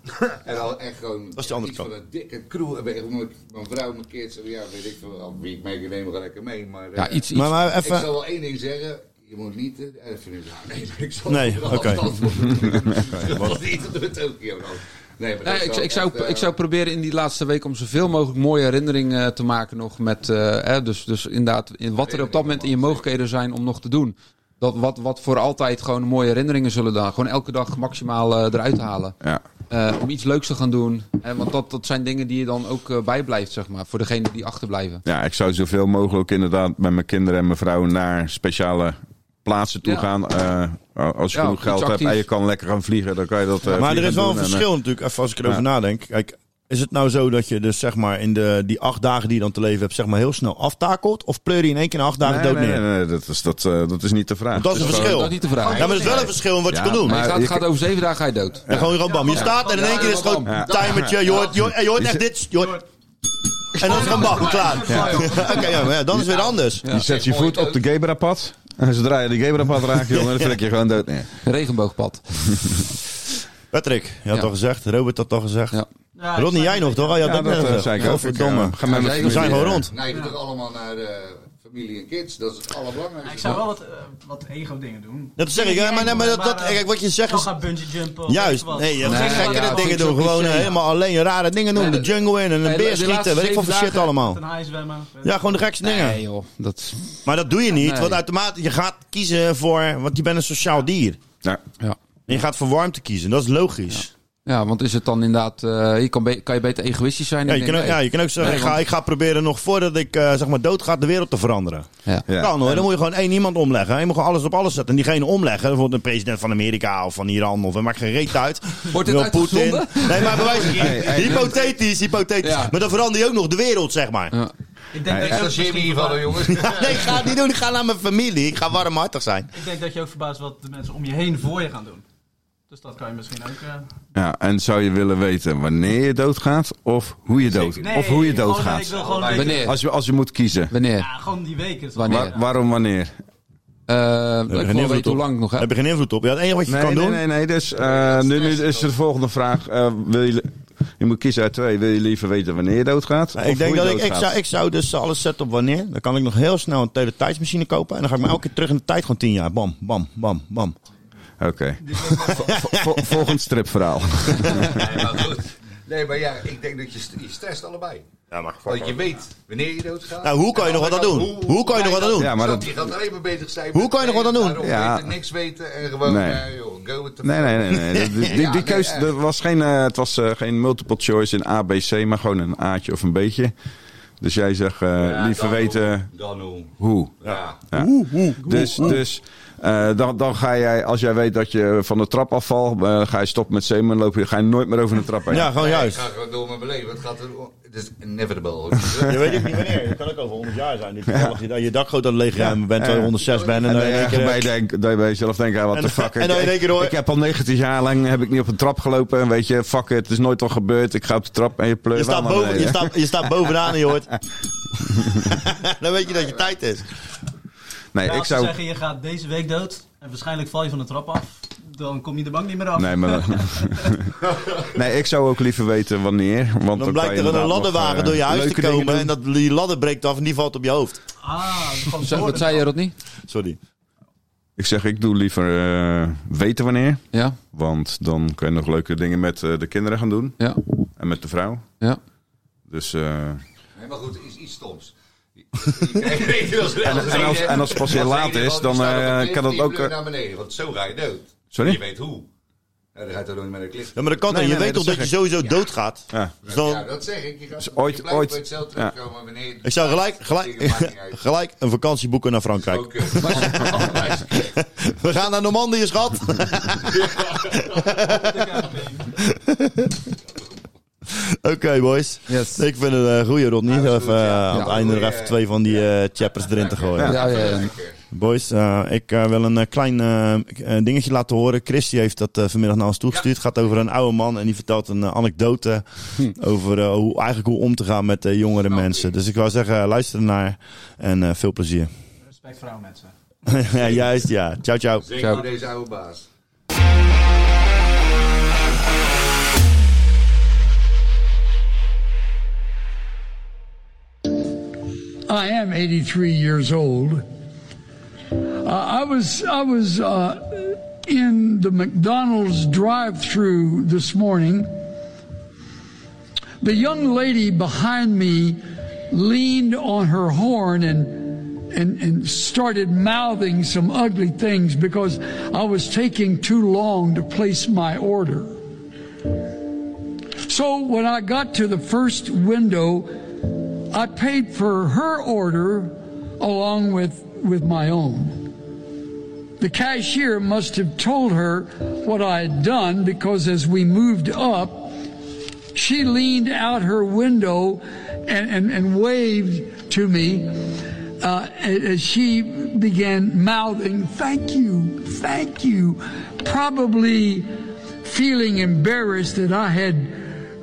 Speaker 4: en dan echt gewoon
Speaker 1: is de andere
Speaker 4: iets
Speaker 1: kant.
Speaker 4: van een dikke crew. hebben. Ik moet Mijn vrouw, mijn kids, en ja, weet ik veel. al Wie ik mee kan nemen, ga lekker mee. Maar, eh,
Speaker 6: ja iets. iets.
Speaker 1: Maar, maar
Speaker 4: Ik
Speaker 1: even...
Speaker 4: zal wel één ding zeggen. Je moet niet... eh, even nu- ja, [laughs] nee, ik zal
Speaker 1: Nee,
Speaker 4: wel
Speaker 1: [laughs] oké.
Speaker 4: afstand doen. [laughs] Ik zal niet door Tokio dan. Nee, maar
Speaker 6: Nee,
Speaker 4: dat
Speaker 6: ik, ik,
Speaker 4: echt,
Speaker 6: zou,
Speaker 4: eh,
Speaker 6: ik zou proberen in die laatste week om zoveel mogelijk mooie herinneringen eh, te maken nog met, eh, hè, dus, dus inderdaad, in wat er op dat moment in je mogelijkheden zijn om nog te doen. Dat, wat, wat voor altijd gewoon mooie herinneringen zullen dan. Gewoon elke dag maximaal eh, eruit halen.
Speaker 7: ja.
Speaker 6: Eh, om iets leuks te gaan doen. Hè, want dat, dat zijn dingen die je dan ook eh, bijblijft, zeg maar. Voor degenen die achterblijven.
Speaker 7: ja, ik zou zoveel mogelijk inderdaad met mijn kinderen en mijn vrouw naar speciale plaatsen toe
Speaker 6: Ja.
Speaker 7: gaan. Eh, als je
Speaker 6: Ja,
Speaker 7: genoeg
Speaker 6: iets
Speaker 7: geld hebt
Speaker 6: actief.
Speaker 7: en je kan lekker gaan vliegen, dan kan je dat. eh,
Speaker 1: Maar er
Speaker 7: vliegen
Speaker 1: is wel een
Speaker 7: doen en, eh,
Speaker 1: verschil natuurlijk, even als ik erover
Speaker 7: Ja.
Speaker 1: nadenk. Kijk, Is het nou zo dat je dus zeg maar in de, die acht dagen die je dan te leven hebt, zeg maar heel snel aftakelt? Of pleur je in één keer in acht dagen dood
Speaker 7: eh, nee,
Speaker 1: neer?
Speaker 7: nee, nee, dat, is, dat, eh, dat is niet de vraag.
Speaker 1: Dat is
Speaker 6: Dus
Speaker 1: een
Speaker 6: gewoon-
Speaker 1: verschil.
Speaker 6: Dat is niet de
Speaker 1: Ja,
Speaker 6: vraag.
Speaker 1: maar er is wel een verschil in wat je
Speaker 7: Ja,
Speaker 1: kan doen.
Speaker 7: maar-
Speaker 6: Maar het gaat,
Speaker 7: je-
Speaker 6: gaat over zeven dagen ga je dood.
Speaker 1: En gewoon gewoon bam. Je
Speaker 2: Ja.
Speaker 1: staat en in één keer is het gewoon
Speaker 7: Ja.
Speaker 1: timertje. Je hoort, je hoort- je hoort echt dit. je hoort- En dan is het gewoon bam, klaar.
Speaker 2: Ja.
Speaker 1: [laughs] Oké, ja, maar ja, dan is het weer anders.
Speaker 7: Je zet je
Speaker 4: Mooi
Speaker 7: voet op
Speaker 4: dood.
Speaker 7: de Gebrapad. En zodra je de Gebrapad raakt, jongen,
Speaker 1: [laughs]
Speaker 7: dan trek je gewoon dood neer.
Speaker 6: Regenboogpad.
Speaker 1: Patrick, je had
Speaker 6: Ja.
Speaker 1: al gezegd. Robert had al gezegd.
Speaker 6: Ja.
Speaker 2: Ja, ik
Speaker 1: Ronnie,
Speaker 2: zei-
Speaker 1: jij nog toch? Oh, ja,
Speaker 7: Ja,
Speaker 1: dat,
Speaker 7: dat
Speaker 1: ben
Speaker 7: eh,
Speaker 1: ik.
Speaker 7: zei ik
Speaker 1: Oh,
Speaker 7: ook.
Speaker 1: Verdomme.
Speaker 7: Ik, eh, ga met mijn
Speaker 6: We
Speaker 1: We zijn
Speaker 7: familie,
Speaker 1: gewoon
Speaker 7: eh,
Speaker 1: rond.
Speaker 4: Neigen toch allemaal naar eh, familie en kids. Dat is het
Speaker 2: Ik
Speaker 4: allerbelangrijkste.
Speaker 2: zou wel wat, eh, wat ego-dingen doen.
Speaker 1: Dat zeg ik, hè, maar- nee, maar dat- dat- kijk, wat je zegt
Speaker 2: Dan
Speaker 1: is-
Speaker 2: eh, gaan bungee jumpen. of weet
Speaker 1: Juist.
Speaker 2: je wat.
Speaker 1: Nee, je
Speaker 2: Of
Speaker 1: gaat
Speaker 2: zeggen
Speaker 1: gekkere
Speaker 2: van,
Speaker 6: ja,
Speaker 1: dingen
Speaker 6: vind ik
Speaker 1: doen.
Speaker 6: zo'n
Speaker 1: Gewoon
Speaker 6: cliché.
Speaker 1: eh, helemaal alleen rare dingen doen.
Speaker 6: Nee,
Speaker 1: De
Speaker 6: de-
Speaker 1: jungle in en
Speaker 6: Nee,
Speaker 1: een
Speaker 6: de-
Speaker 1: beer
Speaker 6: de laatste
Speaker 1: schieten. Weet ik veel
Speaker 6: zeven
Speaker 1: voor shit
Speaker 6: dagen-
Speaker 1: allemaal.
Speaker 2: Ten haai zwemmen.
Speaker 1: Ja, gewoon de gekste
Speaker 6: Nee
Speaker 1: dingen.
Speaker 6: joh, dat is...
Speaker 1: Maar dat doe je niet,
Speaker 6: Nee.
Speaker 1: want automatisch, je gaat kiezen voor... Want je bent een sociaal dier.
Speaker 7: nou,
Speaker 6: Ja.
Speaker 1: En je gaat voor warmte kiezen. Dat is logisch.
Speaker 6: ja, want is het dan inderdaad... eh, je kan, be- kan je beter egoïstisch zijn?
Speaker 1: Ja,
Speaker 6: Ik
Speaker 1: je, kan
Speaker 6: denk,
Speaker 1: ook, ja,
Speaker 6: nee.
Speaker 1: je kan ook zeggen,
Speaker 6: Nee,
Speaker 1: ik, ga,
Speaker 6: want-
Speaker 1: ik ga proberen nog voordat ik eh, zeg maar dood ga de wereld te veranderen.
Speaker 6: Ja.
Speaker 7: ja.
Speaker 1: Kan hoor, dan moet je gewoon één iemand omleggen. Je moet gewoon alles op alles zetten. En diegene omleggen, bijvoorbeeld een president van Amerika of van Iran of het maakt geen reet uit.
Speaker 6: [laughs] Wordt dit
Speaker 1: Wil Poetin.
Speaker 6: uitgezonden?
Speaker 1: Nee, maar bewijs
Speaker 7: hey,
Speaker 1: Hypothetisch, hypothetisch.
Speaker 6: Ja.
Speaker 1: Maar dan verander je ook nog de wereld, zeg maar.
Speaker 6: Ja.
Speaker 2: Ik denk, dat
Speaker 4: Dat
Speaker 2: je
Speaker 4: is
Speaker 2: ook
Speaker 4: Jimmy
Speaker 2: misschien
Speaker 4: hiervan, hoor,
Speaker 2: verbaasd-
Speaker 4: jongens.
Speaker 1: [laughs] Nee, ik ga het niet doen. Ik ga naar mijn familie. Ik ga warmhartig zijn.
Speaker 2: ik denk dat je ook verbaast wat de mensen om je heen voor je gaan doen. Dus dat kan je misschien ook... eh,
Speaker 7: Ja, en zou je willen weten wanneer je doodgaat of hoe je doodgaat?
Speaker 2: nee,
Speaker 7: of hoe je
Speaker 2: gewoon, eh,
Speaker 7: doodgaat?
Speaker 2: Ik wil gewoon weten-
Speaker 6: Wanneer?
Speaker 7: Als je, als je moet kiezen.
Speaker 6: Wanneer?
Speaker 2: Ja, gewoon die weken. is
Speaker 6: Wanneer?
Speaker 2: wel-
Speaker 7: Wa- waarom wanneer?
Speaker 6: Eh
Speaker 1: geen
Speaker 6: ik wil
Speaker 1: invloed
Speaker 6: weten
Speaker 1: op.
Speaker 6: hoe lang ik nog
Speaker 1: Daar
Speaker 6: heb.
Speaker 1: heb je geen invloed op. Ja, het enige wat je
Speaker 7: Nee,
Speaker 1: kan
Speaker 7: nee,
Speaker 1: doen...
Speaker 7: nee, nee. Dus, eh, nu, nu is de volgende vraag. eh, wil je, je moet kiezen uit twee. Wil je liever weten wanneer je doodgaat?
Speaker 1: Nou,
Speaker 7: of
Speaker 1: ik denk
Speaker 7: hoe je
Speaker 1: dat ik, ik,
Speaker 7: doodgaat?
Speaker 1: zou, ik zou dus alles zetten op wanneer. Dan kan ik nog heel snel een teletijdsmachine kopen. En dan ga ik me elke keer terug in de tijd. Gewoon tien jaar. Bam, bam, bam, bam.
Speaker 7: Oké. Vo- vo- volgend stripverhaal.
Speaker 4: Nee, maar goed. Nee, maar ja, ik denk dat je, st- je stresst allebei.
Speaker 1: Ja, maar
Speaker 4: Want je weet wanneer je doodgaat.
Speaker 1: Nou, hoe kan je
Speaker 4: En
Speaker 1: nog wat
Speaker 4: dan-
Speaker 1: aan doen? Hoe kan je nog wat aan doen?
Speaker 7: Ja, maar
Speaker 4: Snap
Speaker 7: dat-
Speaker 4: Je gaat alleen maar bezig zijn.
Speaker 1: Hoe
Speaker 4: met
Speaker 1: kan je nog wat aan doen?
Speaker 4: daarom
Speaker 7: Ja.
Speaker 4: weten, niks weten en gewoon,
Speaker 7: Nee.
Speaker 4: eh, joh, go with the
Speaker 7: Nee,
Speaker 4: flow.
Speaker 7: nee,
Speaker 1: [laughs]
Speaker 7: nee. nee. Die, die, die
Speaker 4: nee,
Speaker 7: keus,
Speaker 4: echt.
Speaker 7: dat was geen, eh, het was eh, geen multiple choice in A, B, C, maar gewoon een A'tje of een B'tje. Dus jij zegt eh,
Speaker 4: Ja,
Speaker 7: liever
Speaker 4: dan
Speaker 7: weten
Speaker 4: hoe, Dan hoe.
Speaker 7: hoe.
Speaker 4: Ja.
Speaker 1: Oh,
Speaker 7: Ja. Dus, dus eh, dan, dan ga jij, als jij weet dat je van de trap afvalt, eh, ga je stoppen met zeeman lopen. Ga je nooit meer over de trap heen.
Speaker 1: Ja, gewoon
Speaker 4: Nee,
Speaker 1: juist.
Speaker 4: Ik ga gewoon door mijn beleven. Het gaat er... Het is inevitable.
Speaker 1: [laughs] Je weet ook niet wanneer. Het kan ook over 100 jaar zijn. Dat je, je dakgoot aan het leegruimen bent, terwijl je 106 bent. En
Speaker 7: En
Speaker 1: dan
Speaker 7: dat
Speaker 1: in
Speaker 7: je
Speaker 1: één
Speaker 7: echt
Speaker 1: keer... eh,
Speaker 7: bij, denkt, dat je bij jezelf denkt, ah, what
Speaker 1: En-
Speaker 7: the
Speaker 1: [laughs]
Speaker 7: fuck.
Speaker 1: en dan in
Speaker 7: ik-
Speaker 1: één keer hoor-
Speaker 7: Ik heb al 19 jaar lang heb ik niet op een trap gelopen. En weet je, fuck it, het is nooit wat gebeurd. Ik ga op de trap en je pleurt
Speaker 1: Je staat,
Speaker 7: allemaal
Speaker 1: boven, je,
Speaker 7: beneden.
Speaker 1: staat, je staat bovenaan en je
Speaker 7: [laughs]
Speaker 1: hoort... dan weet je dat je tijd is.
Speaker 7: Nee,
Speaker 2: Ja,
Speaker 7: ik
Speaker 2: als ze
Speaker 7: zou...
Speaker 2: zeggen, je gaat deze week dood en waarschijnlijk val je van de trap af, dan kom je de bank niet meer af.
Speaker 7: Nee, maar...
Speaker 1: [laughs]
Speaker 7: nee, ik zou ook liever weten wanneer. Want
Speaker 1: Dan blijkt er een ladderwagen
Speaker 7: eh,
Speaker 1: door je huis te komen en dat, die ladder breekt af en die valt op je hoofd.
Speaker 2: Ah, gewoon
Speaker 6: Zeg,
Speaker 2: door
Speaker 6: wat
Speaker 2: de
Speaker 6: zei je,
Speaker 2: trap.
Speaker 6: Rodney?
Speaker 1: Sorry.
Speaker 7: Ik zeg, ik doe liever eh, weten wanneer.
Speaker 6: Ja,
Speaker 7: Want dan kun je nog leuke dingen met eh, de kinderen gaan doen.
Speaker 6: ja,
Speaker 7: En met de vrouw.
Speaker 6: ja.
Speaker 7: Dus, eh,
Speaker 4: Nee, maar goed, het is iets stoms. [laughs] en,
Speaker 7: en als- en als het pas heel laat is, dan, eh, kan dat ook, eh,
Speaker 4: naar beneden, want zo ga je dood.
Speaker 7: Sorry?
Speaker 4: Je weet hoe. Nou, dan ga je toch nooit met een klif.
Speaker 1: Ja, maar dat kan
Speaker 7: Nee,
Speaker 1: dan. Je
Speaker 7: nee,
Speaker 1: weet toch
Speaker 7: dat
Speaker 1: dat je
Speaker 7: zeg
Speaker 1: sowieso doodgaat?
Speaker 7: ja.
Speaker 1: Dus dan-
Speaker 4: Ja, dat zeg ik. Je gaat
Speaker 7: ooit-
Speaker 4: je blijft
Speaker 7: ooit-
Speaker 4: bij het cel terugkomen wanneer je-
Speaker 1: Ik zou gelijk,
Speaker 4: Dingen
Speaker 1: gelijk, [laughs]
Speaker 4: maakt niet uit.
Speaker 1: gelijk een vakantie boeken naar Frankrijk.
Speaker 7: [laughs]
Speaker 4: Ook, [laughs] eh, allemaal-
Speaker 1: We gaan naar Normandië,
Speaker 4: [laughs]
Speaker 1: schat. Oké, boys.
Speaker 6: Yes.
Speaker 1: Ik vind het een goede Rodney.
Speaker 4: Ja,
Speaker 1: Zo
Speaker 4: dat is
Speaker 1: even,
Speaker 4: goed,
Speaker 1: eh,
Speaker 4: ja.
Speaker 1: aan het
Speaker 4: Ja,
Speaker 1: einde nog
Speaker 4: goeie,
Speaker 1: even twee van die eh chappers erin te gooien.
Speaker 6: Ja, ja, ja.
Speaker 4: Lekker.
Speaker 1: Boys, eh, ik eh, wil een eh, klein eh, k- eh, dingetje laten horen. Christy heeft dat eh, vanmiddag naar ons toegestuurd. Het gaat over een oude man en die vertelt een eh, anekdote
Speaker 4: Hm.
Speaker 1: over eh, hoe, eigenlijk hoe om te gaan met eh, jongere
Speaker 4: Oh,
Speaker 1: mensen. Dus ik wou zeggen, eh, luister ernaar en eh, veel plezier. [laughs]
Speaker 2: Respect voor oude mensen.
Speaker 1: ja, juist, ja. Ciao, ciao.
Speaker 4: Zeker voor deze oude baas.
Speaker 8: I am 83 years old. Uh, I was I was uh, in the McDonald's drive-through this morning. The young lady behind me leaned on her horn and and, and started mouthing some ugly things because I was taking too long to place my order. So when I got to the first window, I paid for her order along with, with my own. The cashier must have told her what I had done because as we moved up, She leaned out her window and, and, and waved to me uh, as she began mouthing, Thank you, thank you. Probably feeling embarrassed that I had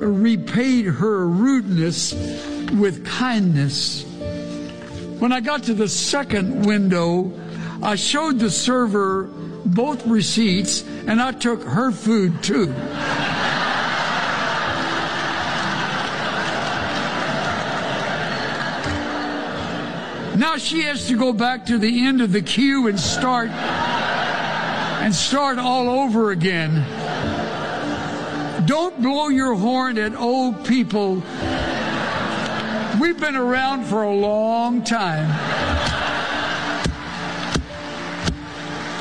Speaker 8: repaid her rudeness with kindness. When I got to the second window, I showed the server both receipts and I took her food too. Now she has to go back to the end of the queue and start and start all over again. Don't blow your horn at old people. We've been around for a long time.